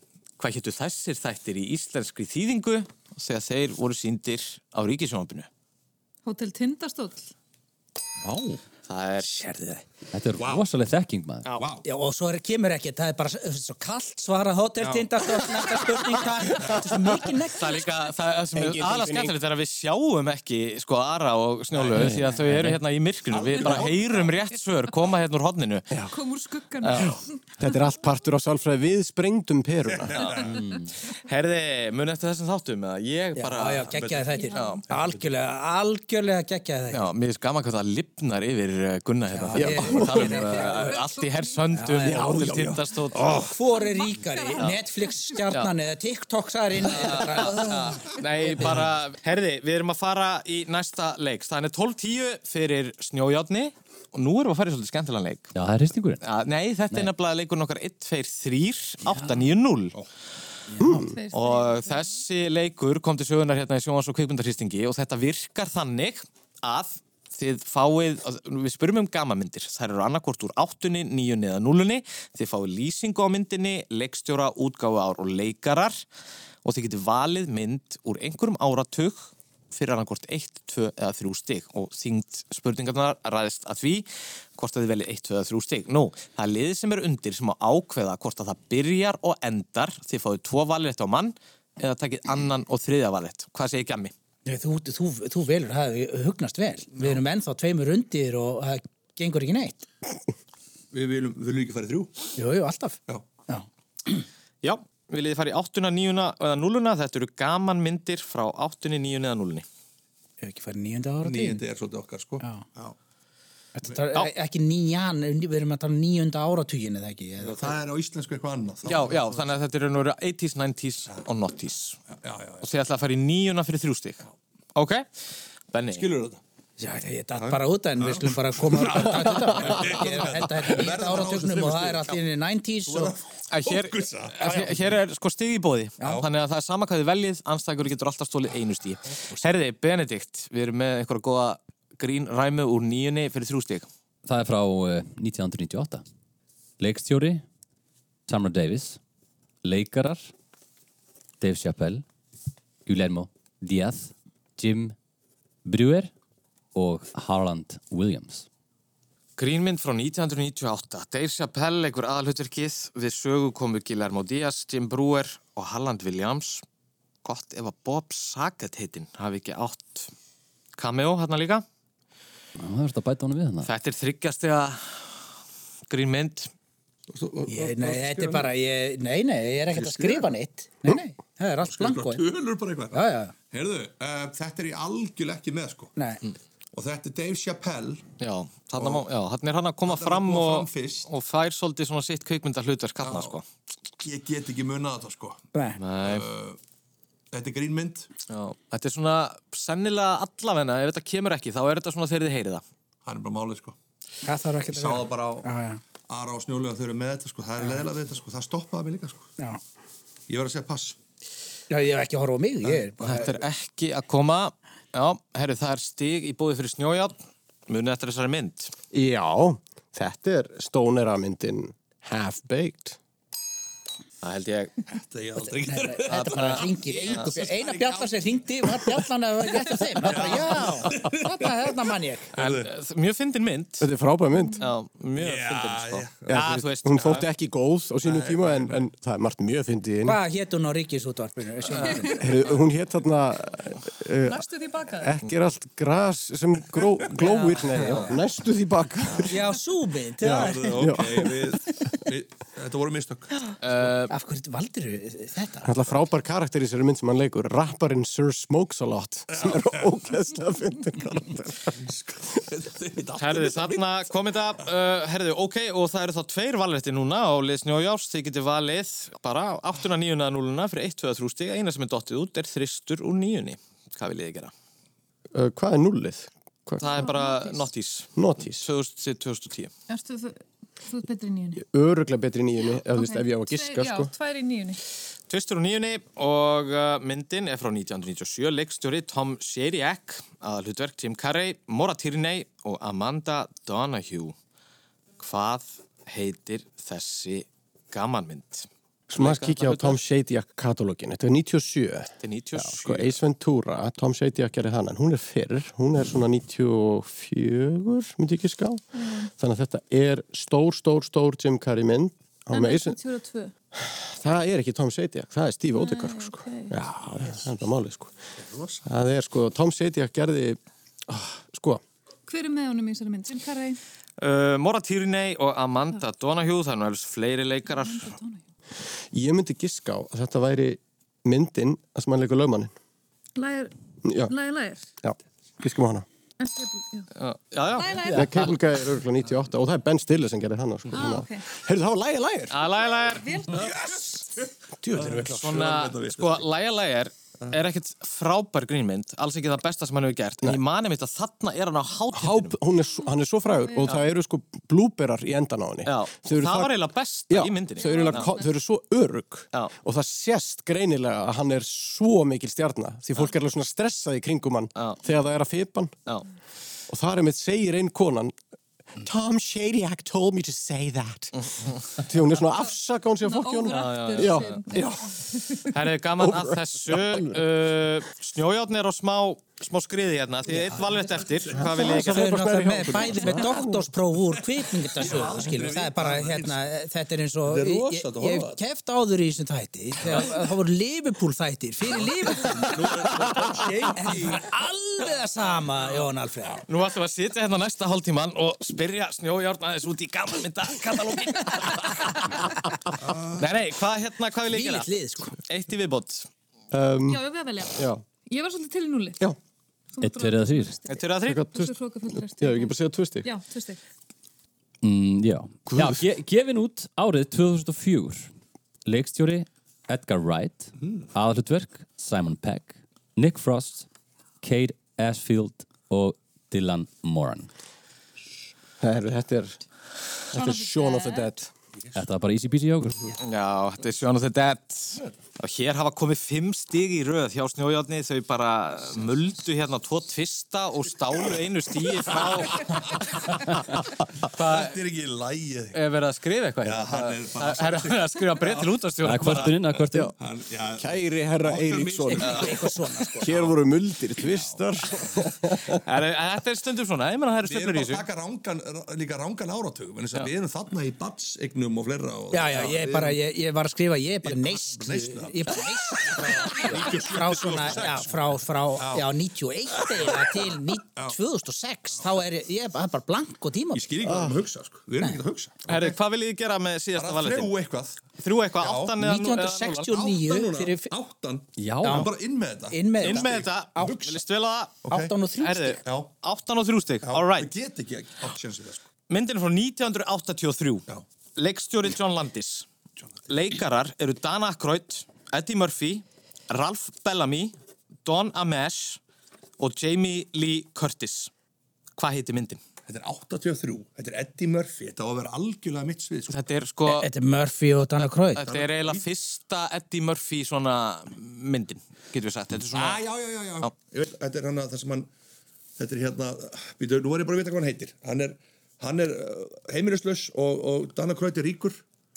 Speaker 1: hvað héttu þessir þættir í íslenskri þýðingu þegar þeir voru síndir á ríkisjónabinu?
Speaker 5: Hótel Tindastóll.
Speaker 2: Vá.
Speaker 1: Það er...
Speaker 3: Sérðu þið.
Speaker 2: Þetta er rosalega þekking, maður.
Speaker 1: Já,
Speaker 3: wow. já, og svo er, kemur ekki, það er bara s- svo kallt svara
Speaker 1: Já.
Speaker 3: hóteltindast og næsta spurning, það, það er svo mikið nekk.
Speaker 1: Það er líka, það er sem er
Speaker 3: Engin
Speaker 1: aðla
Speaker 3: tilfinning.
Speaker 1: skemmtilegt er að við sjáum ekki sko Ara og Snjólu
Speaker 3: Nei, nei,
Speaker 1: því að þau
Speaker 3: nei,
Speaker 1: eru
Speaker 3: nei.
Speaker 1: hérna í myrkrinu við
Speaker 3: Alveg
Speaker 1: bara
Speaker 3: rá-
Speaker 1: heyrum rétt svör koma hérna úr hodninu
Speaker 5: Kom úr skuggan.
Speaker 1: Já.
Speaker 6: Þetta er allt partur á sálfræði við sprengdum peruna.
Speaker 1: Herði, mun eftir þessum þáttum eða ég
Speaker 3: Já,
Speaker 1: bara
Speaker 3: já, geggjaði þættir.
Speaker 1: Já,
Speaker 3: Algjörlega, algjörlega geggjaði þættir.
Speaker 1: já mér finnst gaman hvað það lifnar yfir eh, Gunna hérna
Speaker 3: Já,
Speaker 1: þegar
Speaker 3: ég-
Speaker 1: við talum eh, allt í herrsöndum
Speaker 3: Já, já,
Speaker 1: og til
Speaker 3: já, já.
Speaker 1: tindastótt
Speaker 3: Hvor er ríkari? Netflix-stjarnan eða TikTok-sarinn?
Speaker 1: Nei, bara, herði, við erum að fara í næsta leik. Það er 12.10 fyrir snjójáttni og nú erum við að fara í svolítið skemmtilegan leik.
Speaker 2: Já, það er hristingurinn.
Speaker 1: Ja, nei, þetta er nefnilega leikurinn okkar 1, 2, 3, 8, 9, 0.
Speaker 5: Tveir,
Speaker 1: Og þessi leikur kom til sögunar hérna í sjónvans og kveikmyndarhýstingi og þetta virkar þannig að þið fáið, við spurðum um gamamyndir, þær eru annarkort úr áttunni, níunni eða núlunni, þið fáið lýsingu á myndinni, leikstjóra, útgáfu ár og leikarar og þið getið valið mynd úr einhverjum áratug fyrir annarkort 1, 2 eða 3 stig og þyngd spurningarnar ræðist að því hvort að þið veljið 1, 2 eða 3 stig. Nú, það er liðið sem er undir sem á ákveða hvort að það byrjar og endar þið fáið tvo valrétt á mann eða takið annan og þriðja valrétt. Hvað segir Gjammi?
Speaker 3: Nei, þú, þú, þú velur, það hefur hugnast vel. Við erum ennþá tveimur undir og það gengur ekki neitt.
Speaker 4: Við viljum, við viljum ekki fara í þrjú.
Speaker 3: Jú, jú, alltaf.
Speaker 4: Já.
Speaker 1: Já, viljið þið fara í 8, 9 eða 0? Þetta eru gaman myndir frá 8, 9 eða 0.
Speaker 3: Ef ekki farið nýjunda ára
Speaker 4: Nýjandi er svolítið okkar, sko.
Speaker 3: Já. Þetta er e- ekki nýjan, við erum að tala um nýjunda áratugin eða ekki. Eða,
Speaker 4: Það er á íslensku eitthvað annað.
Speaker 1: Já, já, þannig að þetta eru nú 80s, 90s og 90s.
Speaker 4: já, já.
Speaker 1: Og þið ætla að fara í nýjuna fyrir þrjú stig. Ok? Benni.
Speaker 4: Skilur þetta?
Speaker 3: Já, þetta ég datt bara út en við slum bara koma og taka þetta. Ég er að henda þetta nýjunda áratugnum og það er allt í henni 90s og...
Speaker 1: Að Hér, að hér- hér er sko stig í bóði þannig að það er sama hvað þið veljið anstækur getur alltaf stólið einu stíg Herði, Benedikt, við erum með einhverja góða grín ræmu úr nýjunni fyrir þrjú stíg
Speaker 2: Það er frá eh, 1998. Leikstjóri, Tamara Davis, leikarar, Dave Chappelle, Guillermo Díaz, Jim Brewer og Harland Williams.
Speaker 1: Grínmynd frá 1998 Dave Chappelle leikur aðalhutverkið við sögu komu Guillermo Díaz, Jim Brewer og Halland Williams gott ef að Bob Saget heitinn hafi ekki átt cameo hérna líka
Speaker 2: Já, Það verður að bæta honum við hana.
Speaker 1: Þetta er þryggjastega grínmynd
Speaker 3: Ég, nei, þetta er bara, ég, nei, nei, ég er ekkert að skrifa neitt. Nei, nei, það er allt blanko.
Speaker 4: Tölur bara eitthvað.
Speaker 3: Já, já.
Speaker 4: Heyrðu, uh, þetta er ég algjörlega ekki með, sko.
Speaker 3: Nei.
Speaker 4: Og þetta er Dave Chappelle.
Speaker 1: Já, þarna, má, já, þarna er hann að koma
Speaker 4: Þarna er hann
Speaker 1: fram
Speaker 4: að koma fram
Speaker 1: og,
Speaker 4: fyrst.
Speaker 1: og fær svolítið svona sitt kveikmynda hlutverk hann sko.
Speaker 4: Ég get ekki munað þetta, sko.
Speaker 1: Nei.
Speaker 4: Þetta er grínmynd.
Speaker 1: Já, þetta er svona sennilega allavegna, ef þetta kemur ekki þá er þetta svona þegar þið heyrið það
Speaker 4: Hann er bara málið, sko.
Speaker 3: Það þarf ekki
Speaker 4: Ég sá það bara á,
Speaker 3: Já, já.
Speaker 4: á Ara og Snjólega þau eru með þetta sko, það er leðilega við þetta sko, það stoppaði mig líka sko.
Speaker 3: Já.
Speaker 4: Ég verð að segja pass.
Speaker 3: Já, ég hef ekki að horfa á mig, ég er bara...
Speaker 1: Þetta er ekki að koma. Já, herru, það er stig í bóði fyrir snjójátt. Munið eftir þessari mynd.
Speaker 6: Já, þetta er stóneramyndin Half-Baked.
Speaker 1: Það held ég...
Speaker 4: Þetta ég aldrei
Speaker 3: Nei, nei, Þetta bara ringir engu. Eina bjallan sem ringdi var bjallan að vera rétt af þeim. Það bara, já, þarna, þarna mann ég.
Speaker 1: En, eh, mjög fyndin mynd.
Speaker 6: Þetta er frábæð mynd.
Speaker 1: Já, mjög fyndin, sko.
Speaker 6: Já, Ah, þú veist, hún þótti ekki góð á sínum tíma en, en það er margt mjög fyndið inn.
Speaker 3: Hvað hétt hún á ríkisútvarpinu? sjónvarpinu?
Speaker 6: Hún hétt þarna uh,
Speaker 3: Næstu því bakaður.
Speaker 6: ekki er allt gras sem gró, glóir, nei, næstu því baka
Speaker 3: Já, súmið.
Speaker 4: við, við, þetta voru mistök.
Speaker 3: Af hverju valdir þetta?
Speaker 6: Alltaf frábær karakter í sér mynd sem hann leikur rapparinn Sir Smokes a Lot sem er ógeðslega fyndin karakter
Speaker 1: Herðu, þarna kom þetta, uh, herðu, ok, og það eru þá tveir valrætti núna á lið snjójárs, þið getið valið bara 8, 9 eða 0 fyrir 1, 2, 3 stig, eina sem er dottið út er þristur úr 9. Hvað viljið þið gera?
Speaker 6: uh, Hvað er nullið? Hvað?
Speaker 1: Það er bara Nottis.
Speaker 6: Nottis.
Speaker 1: 2010.
Speaker 5: Erstu þú, þú ert betri í nýjunni?
Speaker 6: Öruglega betri nýjunni ef, okay. ef ég á að giska
Speaker 5: Já,
Speaker 6: sko.
Speaker 5: tvær í nýjunni.
Speaker 1: Tvistur úr 9 og uh, myndin er frá 1997, leikstjóri Tom Sheriak, að hlutverk Tim Carrey, Mora Tierney og Amanda Donahue. Hvað heitir þessi gamanmynd?
Speaker 6: Svo maður kíkja á Tom Shadyac katalógin Þetta er 97
Speaker 1: Þetta er 97.
Speaker 6: Sko Ace Ventura, Tom Shadyac gerir hann en hún er fyrr, hún er svona 94, myndi ég ekki ská þannig að þetta er stór, stór, stór Jim Carrey mynd Á með Ace-
Speaker 5: 22.
Speaker 6: Það er ekki Tom Shadyac, það er Steve Odekar sko. Já, það er bara málið sko. Það er sko, Tom Shadyac gerði oh, sko,
Speaker 5: Hver er með honum í þessari mynd? Jim Carrey.
Speaker 1: Uh, Mora Tierney og Amanda Donahue, það er nú helst fleiri leikarar.
Speaker 5: Mm.
Speaker 6: ég myndi giska á að þetta væri myndin að sem hann leikur lögmannin
Speaker 5: Lægir,
Speaker 6: Já,
Speaker 5: lægir, lægir.
Speaker 6: já, giskum á hana
Speaker 1: Já, Uh, já
Speaker 5: Lægir,
Speaker 6: Það er Cable Guy er örgulega 98 og það er Ben Stiller sem gerði hana sko.
Speaker 5: Ah, ok.
Speaker 6: Heyrðu, það var lægir, lægir
Speaker 1: Að lægja lægjar.
Speaker 6: Djöfull erum við klár.
Speaker 1: Svona, sko, lægja lægjar
Speaker 6: Uh.
Speaker 1: er ekkert frábær grínmynd, alls ekki það besta sem hann hefur gert. En ég mani mitt að þarna er hann á hátindinum.
Speaker 6: Háp, hún er, svo- hann er svo frægur og það eru sko blúberar í endan á henni
Speaker 1: Já,
Speaker 6: Þau eru
Speaker 1: það
Speaker 6: það-
Speaker 1: var eiginlega besta
Speaker 6: Já,
Speaker 1: í myndinni.
Speaker 6: þau eru, eiginlega ko-
Speaker 1: Já.
Speaker 6: þau eru svo örug Já. og það sést greinilega að hann er svo mikil stjarnar því fólk er alveg svona stressað í kringum hann þegar það er að fipa hann
Speaker 1: Já.
Speaker 6: og þar er mitt segir einn konan Tom Shadyac told me to say that því hún er svona að afsaka hún sér fólki hún
Speaker 1: órættur
Speaker 6: já,
Speaker 1: sinn.
Speaker 6: já,
Speaker 1: Það er gaman að
Speaker 6: Óvart.
Speaker 1: þessu uh, Snjójárn er á smá, smá skriði hérna Því eitt valvett eftir Hvað vil ég
Speaker 3: Þau eru náttúrulega með,
Speaker 1: ekki
Speaker 3: bæði með doktorspróf úr kvikmyndasöðu, skilur, það er bara, hérna, þetta er eins og,
Speaker 1: Þetta er
Speaker 3: ég,
Speaker 1: rosalegt að
Speaker 3: ég hef
Speaker 1: horfa á
Speaker 3: keft áður í þessum þætti, þegar það voru Liverpool þættir, fyrir Liverpool, en það er alveg það sama, Jón Alfred.
Speaker 1: Nú ætlum við að sitja hérna næsta hálftíman og spyrja snjójárn aðeins út í gaman mynda katalógin Nei, nei, hvað hérna, hvað vil ég gera?
Speaker 3: Þvílíkt lið, sko.
Speaker 1: Eitt í viðbót
Speaker 6: um,
Speaker 5: Já, við að velja.
Speaker 6: já.
Speaker 5: Ég var svolítið til í núli.
Speaker 6: Já.
Speaker 5: Þú mátt ráða.
Speaker 2: þrýr
Speaker 1: Eitt fyrir að þrýr
Speaker 5: Hversu hrókafull ertu?
Speaker 6: já, ég ekki bara segja tvö stík
Speaker 5: Já, tvö stygg.
Speaker 2: Mm, já, já ge gefin út árið 2004 leikstjóri Edgar Wright mm. aðhlutverk Simon Pegg Nick Frost, Kate Ashfield og Dylan Moran
Speaker 6: Herru, þetta er þetta er Shaun of the Dead
Speaker 2: Þetta var bara easy peasy jókur
Speaker 1: Já, þetta er Shaun of the Dead og hér hafa komið fimm stig í röð hjá snjójárni þau bara muldu hérna tvo tvista og stálu einu stíi frá
Speaker 4: Þetta er ekki lægið.
Speaker 1: er verið að skrifa eitthvað
Speaker 4: Já, hann er bara-
Speaker 1: Það er verið að skrifa breytt til útastjóra
Speaker 2: Það er kvörtunin, það er kvörtunin
Speaker 6: Kæri herra Eiríksson
Speaker 3: sko.
Speaker 6: Hér voru muldir, tvistar
Speaker 1: Þetta er stundum svona, ég menna það eru
Speaker 4: Við
Speaker 1: stefnur
Speaker 4: erum
Speaker 1: í
Speaker 4: að
Speaker 1: þessu
Speaker 4: taka rángan, r- líka rángan áratugum, en þess að við erum þarna í batsegnum og fleira. Og
Speaker 3: Já, já, ég er bara, ég, ég var að skrifa, ég er bara neist,
Speaker 4: neysla.
Speaker 3: ég er bara neist frá svona, já, frá, frá, já, 91 eiginlega til 90 2006, þá er ég, ég er bara bara blank og tíma. Ég
Speaker 4: skil ekki hvað við erum að hugsa, sko. Við erum ekki að hugsa.
Speaker 1: Herri, hvað viljið þið gera með síðasta
Speaker 4: Bara
Speaker 1: valitin?
Speaker 4: þrjú eitthvað.
Speaker 1: Þrjú eitthvað, áttan eða nú- eða núll?
Speaker 3: 1969
Speaker 1: Áttan núna.
Speaker 3: fyrir-
Speaker 4: Áttan?
Speaker 1: Já.
Speaker 4: En bara inn með þetta.
Speaker 3: Inn með
Speaker 1: Inn með þetta, viljið stila það?
Speaker 3: Áttan og þrjú
Speaker 1: Herri,
Speaker 3: stig.
Speaker 1: Áttan og þrjú stygg, all
Speaker 4: Ég
Speaker 1: right
Speaker 4: get ekki átt sjansið það, sko.
Speaker 1: Myndin er frá 1983 Leikstjóri John Landis Leikarar eru Dana Aykroyd Eddie Murphy, Ralph Bellamy Don Amesh og Jamie Lee Curtis Hvað heitir myndin?
Speaker 4: Þetta er 83, þetta er Eddie Murphy, þetta á að vera algjörlega mitt svið. Sko.
Speaker 1: Þetta er sko...
Speaker 3: Þetta er Murphy og Dana Croyd
Speaker 1: Þetta er eiginlega fyrsta Eddie Murphy svona myndin, getur við sagt. Þetta er svona...
Speaker 4: Ah, já, já, já, já. Ég veit, þetta er hann að það sem hann, þetta er hérna, býtu, nú er ég bara að vita hvað hann heitir. Hann er, hann er uh, heimilislaus og, og Dana Kraut er ríkur.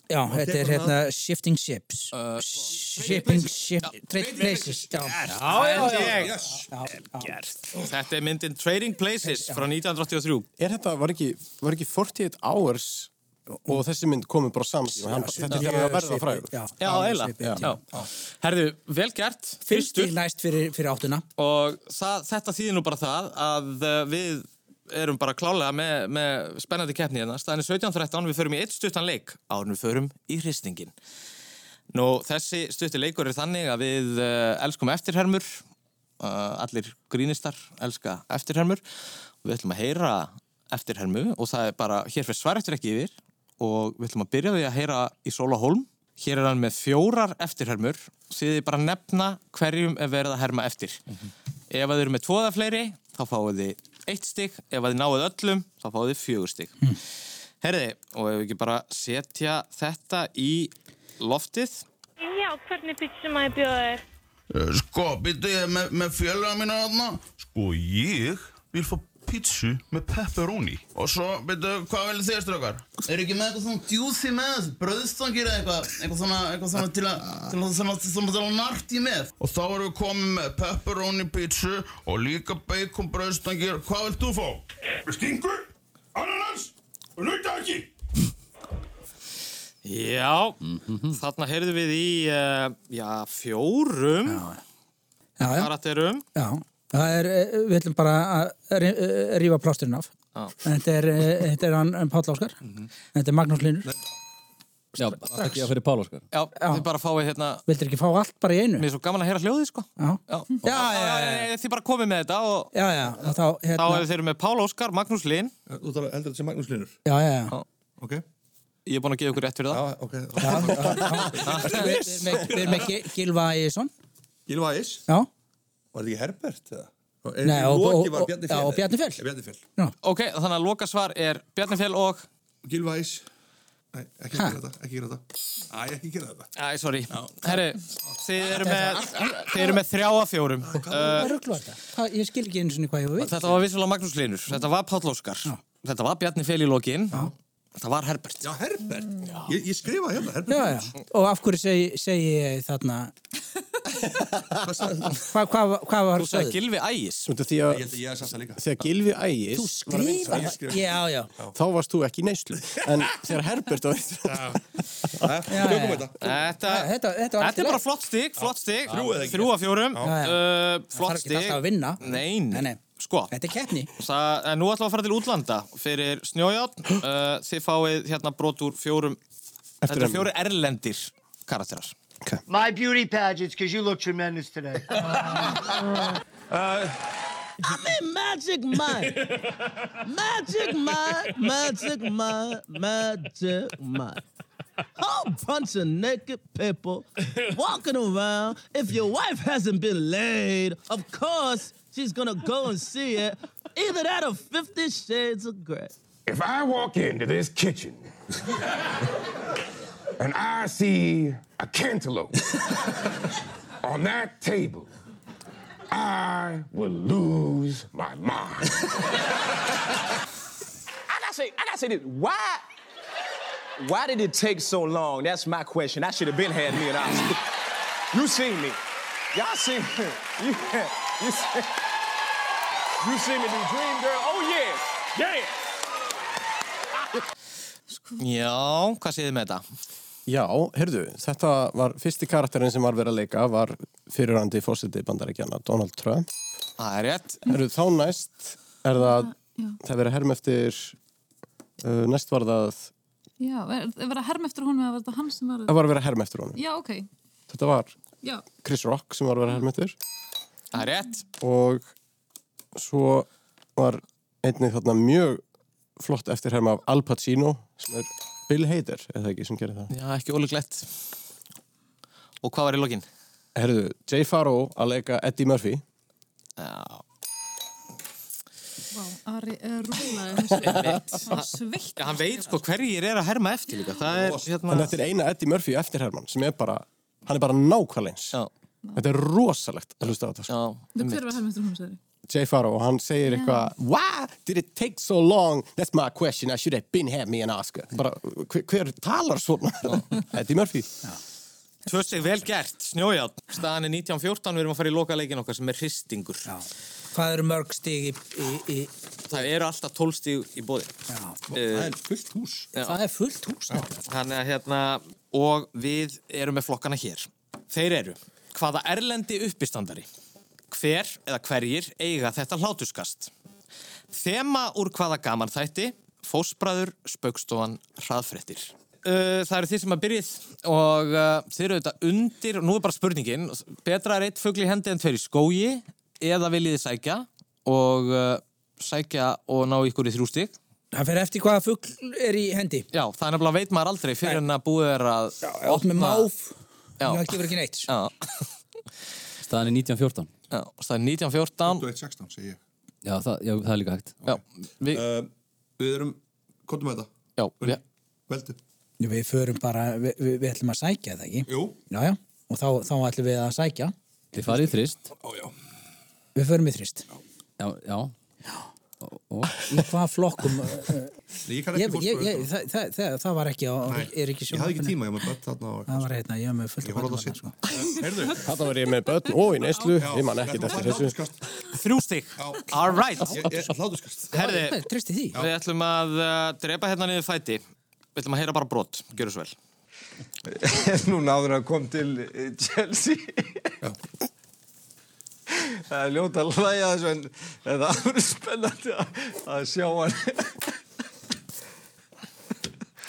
Speaker 3: Já,
Speaker 4: Og
Speaker 3: þetta er
Speaker 4: tekur
Speaker 3: hérna
Speaker 4: hann að-
Speaker 3: Shifting Ships
Speaker 1: Uh,
Speaker 3: Shipping Ships Trade Places Já,
Speaker 1: já, já, já.
Speaker 3: já.
Speaker 1: Þetta er myndin Trading Places frá 1983.
Speaker 6: Er þetta, var ekki, var ekki 48 hours og þessi mynd komið bara saman og hann, þetta er
Speaker 3: hérna
Speaker 6: þegar að verða frægur
Speaker 1: Já, eiginlega. Já. Herðu, vel gert.
Speaker 3: Fyrst í læst fyrir, fyrir áttuna.
Speaker 1: Og það, þetta þýðir nú bara það að eh, við erum bara klálega með, með spennandi keppni hérna. Staðan er 17.13, við förum í eitt stuttan leik árun við förum í hristingin. Nú, þessi stutti leikur er þannig að við uh, elskum eftirhermur, uh, allir grínistar elska eftirhermur og við ætlum að heyra eftirhermu og það er bara, hér fyrir svarættur ekki yfir og við ætlum að byrja því að heyra í Sóla Holm. Hér er hann með fjórar eftirhermur, þið bara nefna hverjum er verið að herma eftir. Ef að þið eru með tvoða fleiri, þá fáið þið eitt stygg, ef að þið náið öllum, þá fáið þið fjögur stygg. Herði, og ef við ekki bara setja þetta í loftið,
Speaker 15: Já, hvernig pítsu maður bjóða þér?
Speaker 16: Sko, býttu ég með, með fjölega mína þarna Sko, ég vil fá pítsu með pepperoni Og svo, býttu, hvað vil þér strókar?
Speaker 17: Er ekki með eitthvað svona djúsi með þessu, bröðstangir eða eitthvað, eitthvað svona, eitthvað svona til að, til að, til að, til að, til að nart í með?
Speaker 16: Og þá erum við komið með pepperoni pítsu Og líka bacon brauðstangir Hvað vilt þú fá? Með stingur, ananas og nautahakki
Speaker 1: já, þarna heyrðum við í, uh, já, fjórum
Speaker 3: Já, já.
Speaker 1: karakterum.
Speaker 3: Já, það er, eh, við ætlum bara að ri- eh, rífa plásturinn af.
Speaker 1: Já.
Speaker 3: Þetta er, eh, þetta er hann um Páll Áskar, þetta er Magnús Linur.
Speaker 2: Já, takk ég fyrir sko. Pál Óskar.
Speaker 1: Já, þið bara fáið hérna...
Speaker 3: Vildir ekki fá allt bara í einu?
Speaker 1: Mér er svo gaman að heyra hljóðið, sko.
Speaker 3: Já,
Speaker 1: já, já, já. Þið bara komið með þetta og...
Speaker 3: Já, já, og þá,
Speaker 1: Þá
Speaker 3: hérna,
Speaker 1: hefur þeir eru með Pál Óskar, Magnús Linn.
Speaker 4: Þú þarf að heldur þetta sem Magnús Linnur.
Speaker 3: já, já, já.
Speaker 4: Ok.
Speaker 1: Ég er búin að gefa ykkur rétt fyrir það.
Speaker 4: Já, ok.
Speaker 3: Við við erum með- við erum með Gil- Gilva Ægisson.
Speaker 4: Gilva Æs?
Speaker 3: Já.
Speaker 4: Var þetta ekki Herbert eða?
Speaker 3: Nei, og-
Speaker 4: Loki
Speaker 3: og-
Speaker 4: var
Speaker 3: og-
Speaker 4: Bjarni
Speaker 3: já,
Speaker 4: Fjell.
Speaker 3: og Bjarni Fjell.
Speaker 4: Bjarni Fjell.
Speaker 1: Ok, þannig að loka svar er Bjarni Fjell og...
Speaker 4: Gilva Æs. Nei, ekki gera þetta, ekki gera þetta. Æ, ekki gera þetta.
Speaker 1: Æ, sorry. Herri, þið eru með, þið eru með þrjá af fjórum.
Speaker 3: Hvað
Speaker 1: Uh,
Speaker 3: rugglu þetta? Hvað- Ég skil ekki einu sinni hvað ég var við.
Speaker 1: þetta var vissulega Magnús Linur, þetta var Páll Óskar, þetta var Bjarni Fel í lokin, þetta var Herbert.
Speaker 4: Já, Herbert. Ég, ég skrifa hérna, Herbert.
Speaker 3: Já, já, og af hverju segi, segi ég þarna Hvað hva, hva var
Speaker 1: Þú sagði
Speaker 3: sögðu?
Speaker 1: Gilvi Ægis.
Speaker 6: Því að
Speaker 4: held að ég sagði það líka.
Speaker 6: þegar Gilvi ægis
Speaker 3: Þú skrifar það? Já, já.
Speaker 6: Þá varst þú ekki í neyslu En þegar Herbert var
Speaker 4: Já,
Speaker 1: já. Þetta,
Speaker 3: þetta,
Speaker 1: þetta,
Speaker 3: var
Speaker 1: er
Speaker 3: allt í
Speaker 1: bara
Speaker 3: lagi.
Speaker 1: flott stig, flott stig,
Speaker 3: Þrjú eða ekki?
Speaker 1: þrjú af fjórum,
Speaker 3: Já, já.
Speaker 1: uh,
Speaker 3: þarf
Speaker 1: flott
Speaker 3: ekki
Speaker 1: stig.
Speaker 3: alltaf að vinna.
Speaker 1: Nei, nei, sko.
Speaker 3: Þetta er keppni.
Speaker 1: Það, en nú ætlum við að fara til útlanda fyrir snjójárn. Uh, þið fáið hérna brot úr fjórum, þetta eru
Speaker 6: enn.
Speaker 1: fjóri erlendir karakterar.
Speaker 18: My beauty pageants, because you look tremendous today.
Speaker 19: I'm in Magic Mike. Magic Mike, Magic Mike, Magic Mike. Whole bunch of naked people walking around. If your wife hasn't been laid, of course she's gonna go and see it. Either that or Fifty Shades of Grey.
Speaker 20: If I walk into this kitchen and I see a cantaloupe on that table, I will lose my mind.
Speaker 21: I gotta say, I gotta say this. Why? Why did it take so long? That's my question. I should have been had me an Oscar. you seen me. Y'all seen me. You, you, seen, you seen me do Dream Girl. Oh yes. Yeah.
Speaker 1: Já, hvað séð þið með þetta?
Speaker 6: Já, heyrðu, þetta var fyrsti karakterin sem var verið að leika var fyrirrandi fósiti bandaríkjana Donald Trump.
Speaker 1: Það er rétt.
Speaker 6: Heyrðu, þá næst er það, það er verið að herma eftir uh, næst var það,
Speaker 5: Já, er, er verið að herma eftir honum eða var þetta hann sem var...
Speaker 6: það var að vera að herma eftir honum.
Speaker 5: Já, ok.
Speaker 6: Þetta var
Speaker 5: Já.
Speaker 6: Chris Rock sem var að vera að herma eftir.
Speaker 1: Það er rétt.
Speaker 6: Og svo var einnig þarna mjög flott eftir herma af Al Pacino sem er Bill Hader, eða ekki, sem gerir það.
Speaker 1: Já, ekki ólíklegt. Og hvað var í lokin?
Speaker 6: Herðu, Jay Farrow að leika Eddie Murphy
Speaker 1: Já
Speaker 5: Vá, Ari eh, rúlaði þessu. Hann sveitt.
Speaker 1: Hann veit sko hverjir er að herma eftir líka. Það er hérna-
Speaker 6: En þetta er eina Eddie Murphy eftirherman sem er bara, hann er bara nákvæmleins.
Speaker 1: Já.
Speaker 6: Þetta er rosalegt að hlusta á þetta. sko.
Speaker 5: Þú hver var hermestur hún, sagði?
Speaker 6: Jay Farrow, hann segir
Speaker 5: Já.
Speaker 6: eitthvað Why did it take so long? That's my question, I should have been had me an Oscar bara, hver, hver talar svona? Eddie Murphy
Speaker 1: Tvö sig vel gert, snjójátt. Staðan er 1914, við erum að fara í lokaleikin okkar sem er hristingur.
Speaker 3: Hvað eru mörg stig í... í, í...
Speaker 1: Það eru alltaf 12 stig í Eh, bóði. Já.
Speaker 3: Það er
Speaker 1: fullt hús.
Speaker 3: Það er fullt hús.
Speaker 1: Þannig að hérna, og við erum með flokkana hér. Þeir eru, hvaða erlendi uppistandari? Hver eða hverjir eiga þetta hlátuskast? Þema úr hvaða gaman þætti? Fósbræður, spaukstofan, hraðfrettir. Uh, það eru þið sem að byrjið og uh, þið eru auðvitað undir, og nú er bara spurningin, betra er eitt fugl í hendi en tveir í skógi eða viljið þið sækja og uh, sækja og ná ykkur í þrjú stík?
Speaker 3: Það fer eftir hvaða fugl er í hendi.
Speaker 1: Já, það er nefnilega veit maður aldrei fyrir en að búið er að... Já,
Speaker 3: já, oft með máf,
Speaker 1: já.
Speaker 3: það gefur ekki neitt.
Speaker 1: Já.
Speaker 2: Staðan er 1914.
Speaker 1: Já, staðan 1914.
Speaker 4: 2116, segi ég. Eh,
Speaker 2: Já, það, já, það er líka hægt.
Speaker 1: Já, við...
Speaker 4: við erum, komdu með þetta.
Speaker 1: Já,
Speaker 4: við... Veldu.
Speaker 3: Við förum bara, við, við, við ætlum að sækja það ekki?
Speaker 4: Jú.
Speaker 3: Já, já, og þá, þá ætlum við að sækja.
Speaker 2: Þið farið í þrist.
Speaker 4: Ó, já.
Speaker 3: Við förum í þrist.
Speaker 2: Já, já. Og, og.
Speaker 3: Í hvaða flokkum? eh,
Speaker 4: Nei, ég kann
Speaker 3: Ég,
Speaker 4: ekki sko.
Speaker 3: ég,
Speaker 4: fórspraut.
Speaker 3: ég, það, það, það, það var ekki á,
Speaker 4: Nei,
Speaker 3: er ekki
Speaker 4: Ég hafði ekki tíma, ég maður bætt þarna á...
Speaker 3: Það var hérna, ég var með fullt sko.
Speaker 4: Ég horfði á sitt. Heyrðu.
Speaker 6: Þetta var ég með börn og í neyslu Ég man ekki eftir þessu
Speaker 1: Þrjú stík. All right.
Speaker 4: Hlátuskast.
Speaker 1: Herði,
Speaker 3: Tristi því.
Speaker 1: við ætlum að uh, drepa hérna niður fæti. Við ætlum að heyra bara brot. Gjör svo vel.
Speaker 7: Núna áður en að kom til eh, Chelsea Það er ljóta að hlæja þessu en en það voru spennandi að, að sjá hann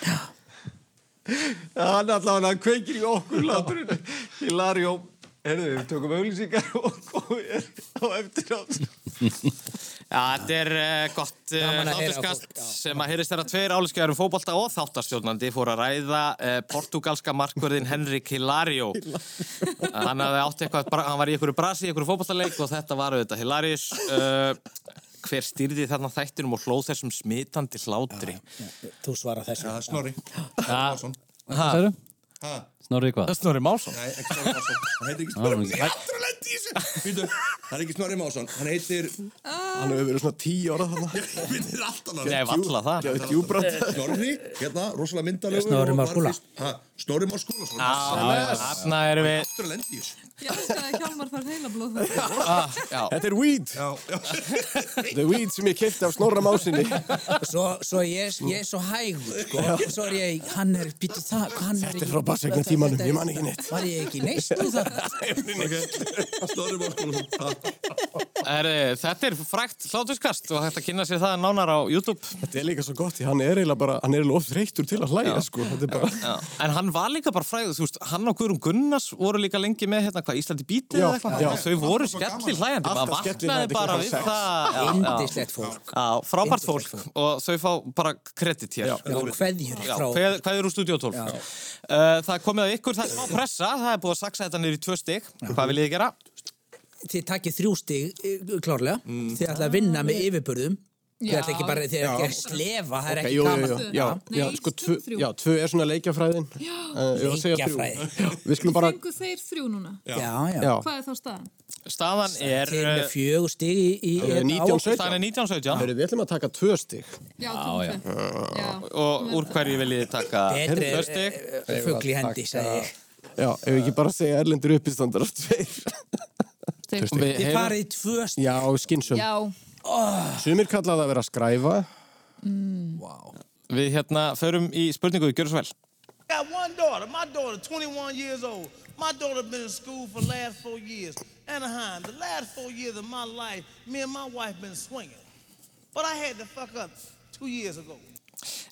Speaker 7: Já, Hann allavega hann kveikir í okkur hláturinn Hilario, herðu, við tökum auglýsingar og komum hér á eftir átt
Speaker 1: Já, þetta er uh, gott uh,
Speaker 7: Gaman að heyra
Speaker 1: hlátuskast
Speaker 7: fólk, já.
Speaker 1: sem að heyrist þeirra tveir álískjaður um fótbolta og þáttarstjórnandi fór að ræða uh, portugalska markverðin Henrik Hilario. hann hafði átt eitthvað, bra- hann var í einhverju brasi í einhverju fótballtaleik og þetta var auðvitað Hilarius. Uh, hver stýrði þarna þættinum og hlóð þessum smitandi hlátri?
Speaker 3: Þú svara þessu.
Speaker 4: Já, snorri.
Speaker 1: Málsson. Ha?
Speaker 2: Særu?
Speaker 4: Ha?
Speaker 2: Snorri hvað?
Speaker 1: Snorri Málsson.
Speaker 4: Nei, ekki Snorri Másson. Hann heitir ekki
Speaker 2: Já, hann-
Speaker 4: Snorri Másson. Ég ætla að
Speaker 6: Ah,
Speaker 4: lendi í þessu. Býtu, það er ekki Snorri Másson. Hann heitir...
Speaker 6: Hann hefur verið svona tíu ára þarna
Speaker 4: Við erum allt annað.
Speaker 6: Nei, varla það.
Speaker 4: Geðveikt
Speaker 6: Það er djúbrat.
Speaker 4: alltaf. Snorri, hérna, rosalega myndalegur.
Speaker 6: Snorri
Speaker 4: og
Speaker 6: Már Skúla.
Speaker 4: varðist- Ha, Snorri Már Skúla.
Speaker 1: Já,
Speaker 6: Ah.
Speaker 1: já, Ah. þarna erum við-
Speaker 4: Aftur að lendi í þessu.
Speaker 5: Ég elska að Hjálmar fær heila blóð
Speaker 1: Ah, já.
Speaker 6: Þetta er weed
Speaker 4: já, já.
Speaker 6: The weed sem ég kipti af snorra másinni
Speaker 3: Svo, svo ég, ég er svo hægur, sko. Svo er ég, hann er, býttu það, hann er ekki...
Speaker 6: Þetta er frá Barseigna tímanum,
Speaker 3: þetta-
Speaker 6: ég man ekki neitt.
Speaker 3: Var ég ekki neist nú það?
Speaker 4: Snorri Már Skúla.
Speaker 1: Herri, þetta er frækt hlátuskast og hægt að kynna sér það nánar á YouTube.
Speaker 6: Þetta er líka svo gott, því hann er eiginlega bara Hann er eiginlega oft reyktur til að hlæja,
Speaker 1: Já.
Speaker 6: sko Þetta er bara
Speaker 1: Já. En hann var líka bara fræður, þú veist, hann og Guðrún Gunnars voru líka lengi með hérna hvað Íslandi bítið
Speaker 6: Já,
Speaker 1: eða eitthvað.
Speaker 6: já.
Speaker 1: Þau voru skelli hlæjandi,
Speaker 6: Alltaf
Speaker 1: maður
Speaker 6: skellihlæjandi
Speaker 1: vaknaði bara
Speaker 6: klukkan
Speaker 1: við
Speaker 6: sex.
Speaker 1: það. Já, já.
Speaker 3: Yndislegt fólk.
Speaker 1: Já, frábært fólk og þau fá bara kredit hér.
Speaker 3: Já, og kveðjur
Speaker 1: Já,
Speaker 3: frá-
Speaker 1: kveð- kveðjur úr Studio 12. Uh, það er komið að ykkur, það er smá pressa, það er búið að saksa þetta niður í tvö stygg. Hvað viljið þið gera?
Speaker 3: Þið takkið þrjú stig, eh, klárlega. Þið ætla að vinna með yfirburðum. Þið
Speaker 6: Já.
Speaker 3: ætla ekki bara, þið er ekki að slefa, það er
Speaker 6: Ok, jú,
Speaker 3: ekki
Speaker 6: jú,
Speaker 3: gaman.
Speaker 6: jú, já, já, sko, tvö, já, tvö er svona leikjafræðin Eh, ég var að segja þrjú.
Speaker 3: Leikjafræði.
Speaker 6: Já, Við skulum bara
Speaker 5: Fengu þeir þrjú núna?
Speaker 6: Já. Já, já. Já.
Speaker 5: Hvað er þá staðan?
Speaker 1: Staðan er... eh,
Speaker 3: Þið er með fjögur stig í... í
Speaker 6: Eh, 1917.
Speaker 1: Staðan er 1917.
Speaker 6: Heyrðu, Við ætlum að taka tvö stig
Speaker 5: Já,
Speaker 1: já. Og úr hverju viljið þið taka
Speaker 6: Betri er,
Speaker 1: tvö stygg?
Speaker 3: fugl í hendi, sagði ég.
Speaker 6: Já, ef við ekki bara segja erlendur uppistandar af tveir Tvö stig.
Speaker 3: Þið farið í tvö stig.
Speaker 6: Já, skynsum
Speaker 5: Já.
Speaker 6: Sumir kalla það að vera að skræfa
Speaker 1: Við hérna förum í spurningu, gjör svo vel.
Speaker 22: I got one daughter. My daughter, 21 years old. My daughter been in school for the last four years. Anaheim, the last four years of my life, me and my wife been swinging. But I had to fuck up two years ago.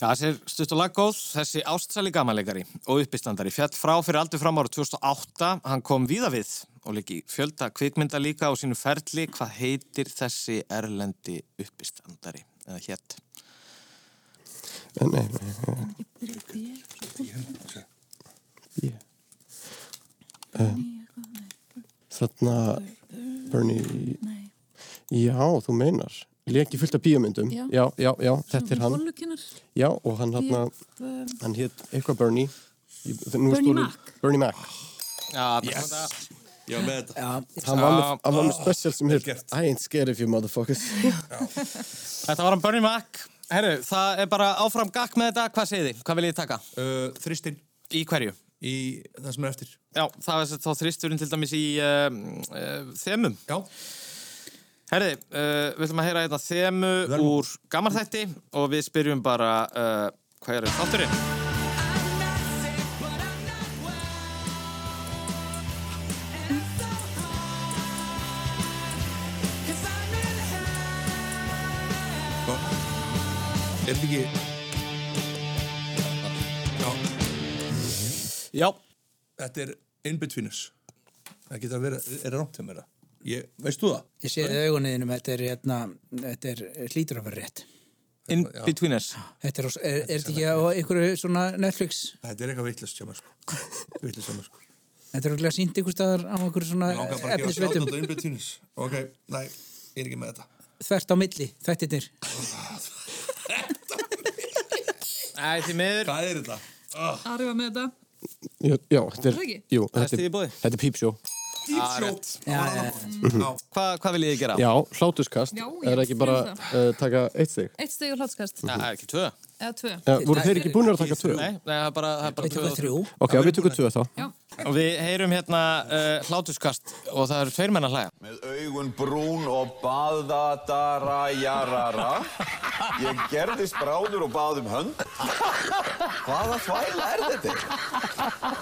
Speaker 1: Já, þessi er stutt og laggóð, þessi ástsæli gamanleikari og uppistandari fjall frá fyrir aldur fram ára 2008, hann kom víða við og líki fjölda kvikmynda líka á sínu ferli, hvað heitir þessi erlendi uppistandari eða hétt?
Speaker 6: Nei, nei, nei, nei. Eh, Þarna Bernie Já, þú meinar leki fullt af bíómyndum
Speaker 5: Já.
Speaker 6: já, já, já, þetta er hann
Speaker 5: Bollukinnar.
Speaker 6: já, og hann hann
Speaker 5: Hét, eh,
Speaker 6: hann hétt eitthvað Bernie Ég- nú er
Speaker 5: Bernie
Speaker 6: stolið-
Speaker 5: Mac.
Speaker 6: Bernie Mac
Speaker 1: Já,
Speaker 6: Yes.
Speaker 4: Já, með þetta.
Speaker 6: hann var með, hann
Speaker 1: Ah,
Speaker 6: var með special sem hér I ain't scared of you motherfuckers
Speaker 1: Þetta var hann Bernie Mac. Herru, það er bara áfram gakk með þetta. Hvað segið þið? Hvað viljið þið taka? Uh, þristin. Í hverju? Í það sem er eftir. Já, það var þá þristurinn til dæmis í uh, uh, þemum. Já. Herri, uh, við ætlum að heyra hérna þemu úr gammarþætti og við spyrjum bara uh, hvað er þátturinn?
Speaker 4: Er þetta ekki... Já.
Speaker 1: Já.
Speaker 4: Þetta er Inbetweeners. Það getur að vera, er það rámt hjá mér það? Ég, veistu það?
Speaker 3: Ég sé það augunniðinum, þetta er, hérna, þetta er eh, hlýtur að vera rétt.
Speaker 1: In between us.
Speaker 3: Þetta er, er, er þetta ekki á einhverju svona Netflix?
Speaker 4: Þetta er eitthvað vittlust hjá mér, sko. Vittlust hjá mér, sko.
Speaker 3: Þetta er alveg sínt einhver staðar á einhverju svona
Speaker 4: Ég langar bara að gefa
Speaker 3: efnisveitum.
Speaker 4: sjátt á Inbetweeners. Ok, næ, ég er ekki með þetta.
Speaker 3: Þvert á milli, þættirnir.
Speaker 1: Æ, því miður.
Speaker 4: Hvað er þetta?
Speaker 5: Ari var með þetta.
Speaker 6: já, já, þetta
Speaker 5: Er
Speaker 6: er,
Speaker 5: það ekki?
Speaker 6: jú,
Speaker 1: Það er
Speaker 6: þetta
Speaker 1: stigið í boði.
Speaker 6: er, þetta er pípsjó
Speaker 1: Ah, rétt.
Speaker 6: Mhm.
Speaker 1: Hvað hva viljið þið gera?
Speaker 6: já, hlátuskast,
Speaker 5: Já, ég
Speaker 6: er ekki bara
Speaker 5: fyrir
Speaker 6: uh, taka eitt þig
Speaker 5: Eitt steg og hláttskast.
Speaker 1: Já, það er ekki tvö.
Speaker 5: Eða tvö.
Speaker 6: Já, voru þeir ekki búin að taka tvö?
Speaker 1: Nei, nei, það er bara, það er bara tvö. og þrjú.
Speaker 6: ok, við tökum tvö þá
Speaker 1: Og við heyrum hérna uh, hlátuskast og það eru tveir menn að hlæja.
Speaker 8: Með augun brún og baðadara jarara. Ég gerðist bráður og bað um hönd. Hvaða þvæla er þetta?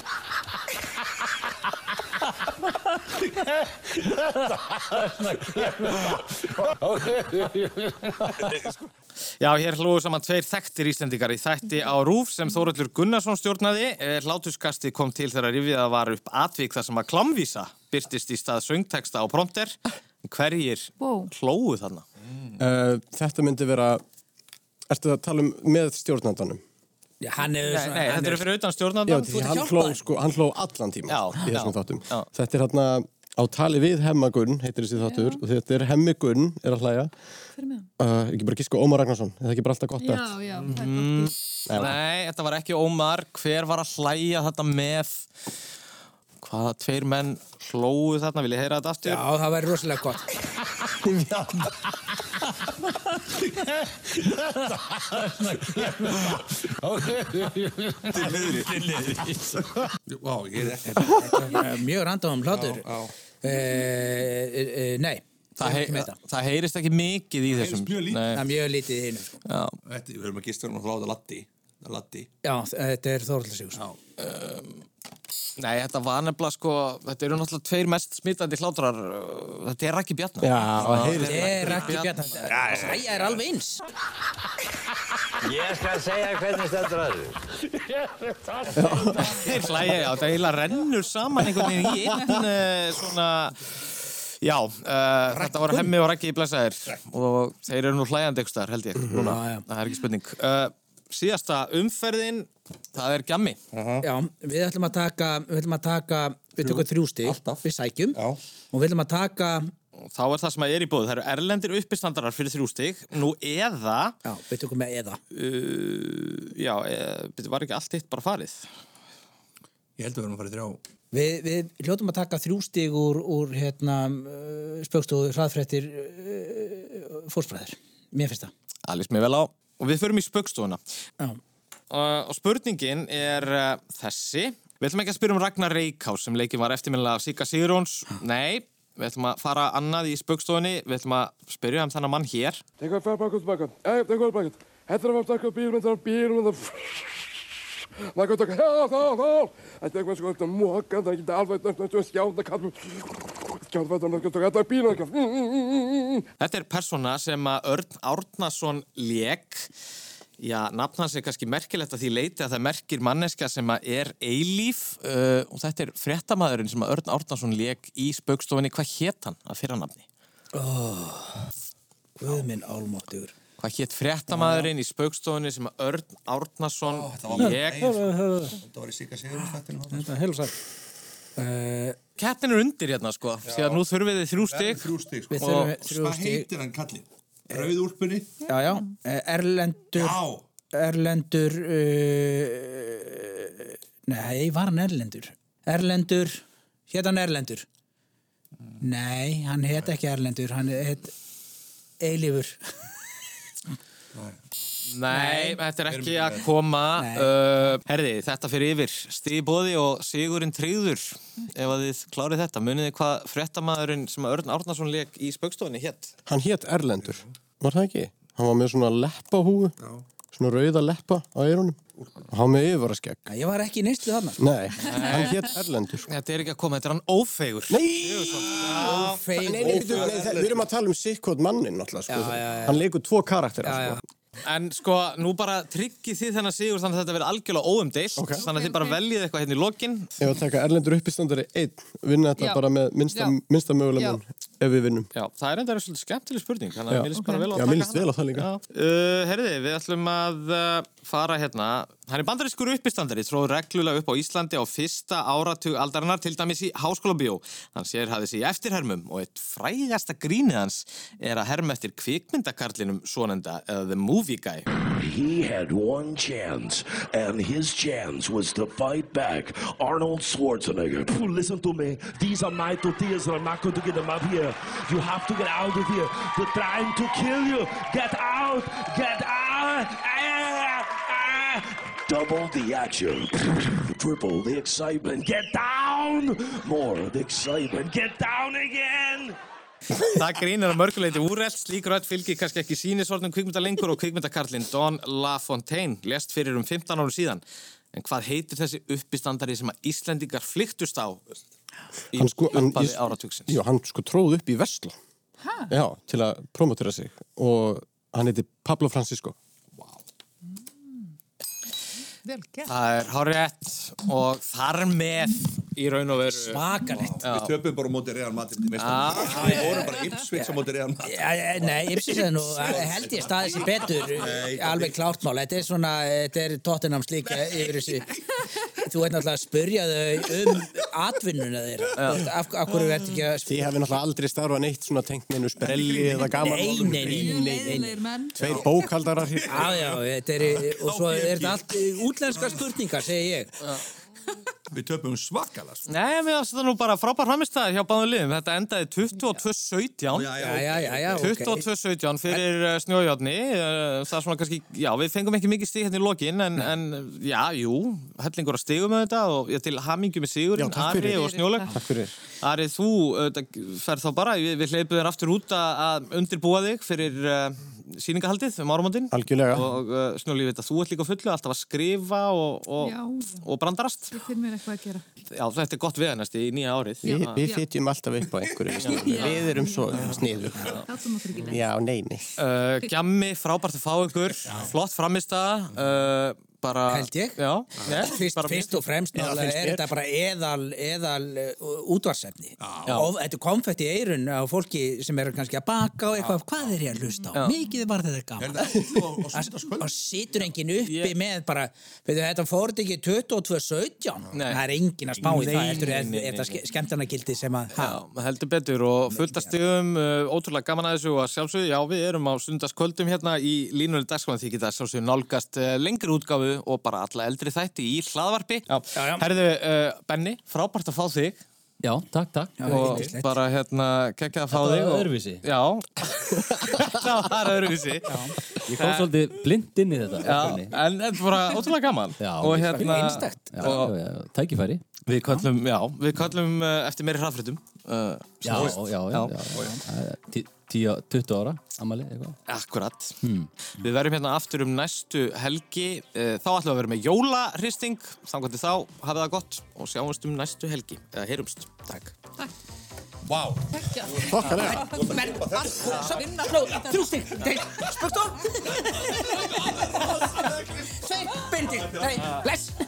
Speaker 1: Já, hér hlúðu saman tveir þekktir Íslendingar í þætti á Rúf sem Þóruldur Gunnarsson stjórnaði. Eh, Hlátuskasti kom til þegar rifiða var upp atvik þar sem að klamvísa byrtist í stað söngteksta á prompter. Hverjir
Speaker 5: wow.
Speaker 1: hlóðu þarna?
Speaker 6: uh, þetta myndi vera ertu að tala um með stjórnandanum
Speaker 3: Já, hann hefur
Speaker 1: Nei, nei, þetta eru fyrir utan stjórnandan.
Speaker 6: Já, því hann hló, sko, hann hló allan tíma
Speaker 1: Já,
Speaker 6: í þessum
Speaker 1: já,
Speaker 6: þáttum. Þetta er hérna á tali við hemmagunn, heitir þessi þáttur, og þetta er hemmigunn, er að hlæja.
Speaker 5: Hver er með hann?
Speaker 6: Uh, ekki bara gíska Ómar Ragnarsson, er það ekki bara alltaf gott
Speaker 5: Já, já, það er gott.
Speaker 6: Nei,
Speaker 1: Nei, þetta var ekki Ómar. Hver var að hlæja þetta með? Hvaða tveir menn hlóðu þarna? Vil ég heyra þetta aftur?
Speaker 3: Já, það væri rosalega gott.
Speaker 8: Til niðri. Til niðri.
Speaker 4: Vá, ég er ekki...
Speaker 3: Eh, Mjög random hlátur.
Speaker 4: Já, já.
Speaker 3: Eh, eh, eh, Nei,
Speaker 1: Það,
Speaker 3: ég er ekki
Speaker 1: hei,
Speaker 3: með þetta.
Speaker 1: það heyrist ekki mikið í þessum.
Speaker 4: mjög lítið.
Speaker 1: Nei.
Speaker 3: Það er mjög lítið í hinu. sko.
Speaker 1: Já.
Speaker 4: Þetta, við erum að gista um að hláta Latti. Það er Latti.
Speaker 3: Já, þetta er Þorvaldur Sigurðsson.
Speaker 1: Nei, þetta var nefnilega sko, þetta eru náttúrulega tveir mest smitandi hlátrar, uh, þetta er Raki Bjarnar.
Speaker 6: Já, það heyrist.
Speaker 3: Þetta er ekki bjarnar. Sæja er alveg eins.
Speaker 8: Ég skal segja hvernig stendur að þið.
Speaker 1: Þeir hlæja, já, þetta eiginlega rennur saman einhvern veginn í einn uh, svona, já, uh, þetta voru hemmi og Raki í blæsaðir og þeir eru nú hlæjandi ykkur staðar, held ég, núna, það er ekki spurning. Uh, síðasta umferðin, það er Gjammi.
Speaker 3: Já, við ætlum að taka, við ætlum að taka, við tökum þrjú stig, við sækjum Já. og við ætlum að taka,
Speaker 1: Þá er það sem er í búið, það eru erlendir uppistandarar fyrir þrjú stig, nú eða,
Speaker 3: já, við tökum með eða.
Speaker 1: uh, já, uh, var ekki allt hitt bara farið?
Speaker 4: Ég held að við erum að fara í þrjá.
Speaker 3: Við, við hljótum að taka þrjú stig úr, úr hérna, spjókstóðu, hraðfrettir, fórspræðir. uh, Mér finnst það.
Speaker 1: Það líst mér vel á. Og við förum í spöggstofuna.
Speaker 3: Já.
Speaker 1: Uh, og spurningin er uh, þessi. Við ætlum ekki að spyrja um Ragnar Reykjás sem leikin var eftirminnilega af Sigga Sigurjóns. Nei, við ætlum að fara annað í spöggstofunni. Við ætlum að spyrja um þennan mann hér.
Speaker 20: Tenk að fara baka og tilbaka. Jæja, tenk að fara baka. Þetta er að fara baka og bílum, þetta er að bílum, þetta er... Maður gott að
Speaker 6: oh,
Speaker 20: hæða það, þá! Þetta er eitthvað sko, þetta er móka, það er ekki alveg næst, næst, skjáta, kallum... Skjáta, þetta er næst, þetta er bílum, þetta
Speaker 6: Mm.
Speaker 20: er...
Speaker 1: Þetta er persóna sem að Örn Árnason lék. Já, nafn hans er kannski merkilegt að því leiti að það merkir manneska sem að er eilíf uh, og þetta er fréttamaðurinn sem að Örn Árnason lék í spöggstofunni. Hvað hétt hann að fyrra nafni?
Speaker 3: Guð minn álmáttugur.
Speaker 1: Hvað hétt fréttamaðurinn í spaukstofunni sem að Örn Árnason lék?
Speaker 4: Þetta var í Sigga Sigurins þættinu.
Speaker 3: Þetta er heilsæl. Uh,
Speaker 1: Kettin er undir hérna sko, því að nú þurfið þið þrjú
Speaker 4: Verður
Speaker 1: stygg.
Speaker 4: Þrjú stík, sko.
Speaker 3: Við þurfum
Speaker 4: Og
Speaker 3: þrjú
Speaker 4: Hvað
Speaker 3: stig.
Speaker 4: heitir hann kallið? Rauðúlpunni
Speaker 3: já, já, eh, Erlendur
Speaker 4: Já.
Speaker 3: Erlendur uh, Nei, var hann Erlendur? Erlendur Hétt hann Erlendur? Nei, hann hétt ekki Erlendur Hann hétt Eilífur
Speaker 1: Nei, þetta er ekki að koma uh, Herði, þetta fyrir yfir Stíði bóði og Sigurinn tryggður Ef að þið klárið þetta Munið þið hvað fréttamaðurinn sem Örn Árnason leik í spaukstofinni hétt
Speaker 6: Hann hétt Erlendur, var það ekki? Hann var með svona leppahúu, svona rauða leppa á eyrunum. Og hann með yfirvaraskegg.
Speaker 3: Ég var ekki í neyslu þarna sko.
Speaker 6: Nei, hann hétt Erlendur.
Speaker 1: Þetta er ekki að koma, þetta er hann ófeigur
Speaker 6: Nei! Nei, nei, nei, bíddu, nei, það- við erum að tala um sikkot mannin náttúrulega, sko.
Speaker 1: Já, já, já.
Speaker 6: Hann leikur tvo karaktera, sko.
Speaker 1: En sko, nú bara tryggið þið þennan Sigur Þannig að þetta verið algjörlega óumdeilt Þannig að þið bara veljið eitthvað hérna í lokin
Speaker 6: Ef að taka Erlendur uppistandari einn, vinna þetta
Speaker 1: Já.
Speaker 6: bara með minnsta,
Speaker 1: Já.
Speaker 6: minnsta
Speaker 1: Já.
Speaker 6: mögulega mun, ef við vinnum.
Speaker 1: Já, það er enda svolítið skemmtileg spurning Þannig að
Speaker 6: Já.
Speaker 1: okay. minnst bara
Speaker 6: Ok.
Speaker 1: vel á að
Speaker 6: Já,
Speaker 1: taka
Speaker 6: mér líst
Speaker 1: hana.
Speaker 6: vel á það líka.
Speaker 1: Uh, herriði, við ætlum að uh, fara hérna Hann er bandarískur uppistandari tróð reglulega upp á Íslandi á fyrsta áratug aldarinnar til dæmis í háskólabjó Hann sér hafði sig í eftirhermum og eitt frægasta grínið hans er að herma eftir kvikmyndakarlinum svonenda eða The Movie Guy
Speaker 10: He had one chance, and his chance was to fight back Arnold Schwarzenegger. "Phew, Listen to me. These are my tortillas, and I'm not going to get them up here. You have to get out of here. They're trying to kill you. Get out! Get out! Ah, ah. Double the action. Triple the excitement. Get down! More of the excitement. Get down again!
Speaker 1: Það grínir að mörguleiti úrelt, slík rödd fylgir kannski ekki sínisornum kvikmynda lengur og kvikmyndakarlinn Don LaFontaine lest fyrir um 15 árum síðan. En hvað heitir þessi uppistandari sem að Íslendingar flyktust á í
Speaker 6: Hann sko, hann,
Speaker 1: upphafi áratugsins?
Speaker 6: já, hann sko tróð upp í Vesla já, til að promotera sig og hann heiti Pablo Francisco
Speaker 11: Vel gert.
Speaker 1: Það er hárétt og þar með í raun og veru...
Speaker 3: Svakalegt.
Speaker 1: Já.
Speaker 4: Við töpum bara á móti Real Madrid í
Speaker 1: Já.
Speaker 4: meistarunum. Við vorum bara Ipswich á móti Real Madrid.
Speaker 3: Já, já, Nei, Ipsis er nú, held ég staðið sér betur uh,
Speaker 4: Nei,
Speaker 3: alveg klárt mál, þetta er svona þetta er tóttinams líka yfir þessu þú ert náttúrulega að spurja þau um atvinnuna þeir af, af, af hverju ertu ekki að
Speaker 6: Þið hefði náttúrulega aldrei starfað neitt svona tengt neinu sprelli eða gaman
Speaker 3: Nei, nei, nei, nei, nei, nei.
Speaker 11: menn.
Speaker 6: Tveir bókaldarar hér
Speaker 3: Já, já, þetta er, og svo er þetta allt útlenska spurningar, segi ég.
Speaker 4: Við töpum svakala sko.
Speaker 1: Nei, mér finnst þetta nú bara frábær framistæði hjá báðum liðum. Þetta endaði 22-17.
Speaker 4: Já, já, já, já, já, ok.
Speaker 1: 22-17 fyrir uh, snjójáttni. Það er svona kannski, já, við fengum ekki mikið stík hérna í lokin, en, en eh, já, jú, hellingur að stígum með þetta og ég til hamingju með
Speaker 6: Já,
Speaker 1: Sigurinn,
Speaker 6: takk
Speaker 1: Ari
Speaker 6: fyrir
Speaker 1: og Snjóleg.
Speaker 6: Takk fyrir
Speaker 1: Ari, þú uh, ferð þá bara, við, við hleypum þér aftur út að, að undirbúa þig fyrir uh, sýningahaldið um árumóndin.
Speaker 6: Algjörlega.
Speaker 1: Og uh, Snjóli, ég veit að þú ert líka á fullu, alltaf að skrifa og,
Speaker 11: Já.
Speaker 1: og, og brandarast.
Speaker 11: Ég finn mér eitthvað að gera.
Speaker 1: Já, þetta er gott veganest í nýja árið.
Speaker 6: Við,
Speaker 1: Já.
Speaker 6: við fitjum alltaf upp á einhverju við snúðum.
Speaker 11: Já.
Speaker 6: Við erum svo sniður
Speaker 11: Látum okkur ekki leið.
Speaker 6: Já, nei, nei
Speaker 1: Uh, Gjammi, frábært að fá ykkur, flott framistæða, uh, bara... Held
Speaker 3: ég.
Speaker 1: Já. Nei,
Speaker 3: Fyrst,
Speaker 1: bara-
Speaker 3: fyrst og fremst
Speaker 1: Já,
Speaker 3: náttúrulega
Speaker 1: finnst
Speaker 3: er
Speaker 1: mér.
Speaker 3: þetta bara eðal, eðal uh, útvarsefni. Og þetta er konfett í eirun á fólki sem eru kannski að baka og eitthvað, hvað er ég að hlusta á?
Speaker 1: Já.
Speaker 3: Mikið er bara þetta gaman. Og situr enginn uppi með bara, veitu, þetta fór þetta ekki 22.17. Það er enginn að spá í
Speaker 1: Nei,
Speaker 3: það eftir
Speaker 1: nei, nei, nei,
Speaker 3: þetta
Speaker 1: nei.
Speaker 3: skemmtarnagildi sem að...
Speaker 1: Já, heldur betur og fulltastigum, uh, ótrúlega gaman að þessu og að sjálfsögðu, já, við erum á sundarskvöldum hérna í línunni dagskvæðan því geta sjálfsögðu nálgast uh, lengri útgáfu og bara alla eldri þætti í hlaðvarpi. Já, já, já. Herðu, uh, Benni, frábært að fá þig.
Speaker 2: Já, takk, takk. Já,
Speaker 1: og
Speaker 2: yndislegt.
Speaker 1: bara hérna, kekkja að fá
Speaker 2: Þetta var
Speaker 1: þig. og-
Speaker 2: öðruvísi.
Speaker 1: Já, það var öðruvísi.
Speaker 2: Ég kom
Speaker 1: Eh,
Speaker 2: svolítið blind inn í þetta.
Speaker 1: Já, en þetta er bara ótrúlega gaman
Speaker 2: Já,
Speaker 1: og hérna
Speaker 2: einstakt. Já,
Speaker 1: og
Speaker 2: já, já, tækifæri.
Speaker 1: við köllum, já, við köllum uh, eftir meiri hraðfréttum uh,
Speaker 2: Já, já, já, já, já. Tí- tíu- 20 ára, amali, eitthvað.
Speaker 1: Akkurat.
Speaker 2: Hmm.
Speaker 1: Við verðum hérna aftur um næstu helgi uh, þá ætlum við að vera með jólaristing samkvæmt til þá, hafið það gott og sjáumst um næstu helgi, eða heyrumst Takk Vá wow.
Speaker 6: Þokkalega.
Speaker 3: Menn, Marko, Sabina, Fló, Þrústig, Spurtó, Svein, Bindi, Nei, Bless.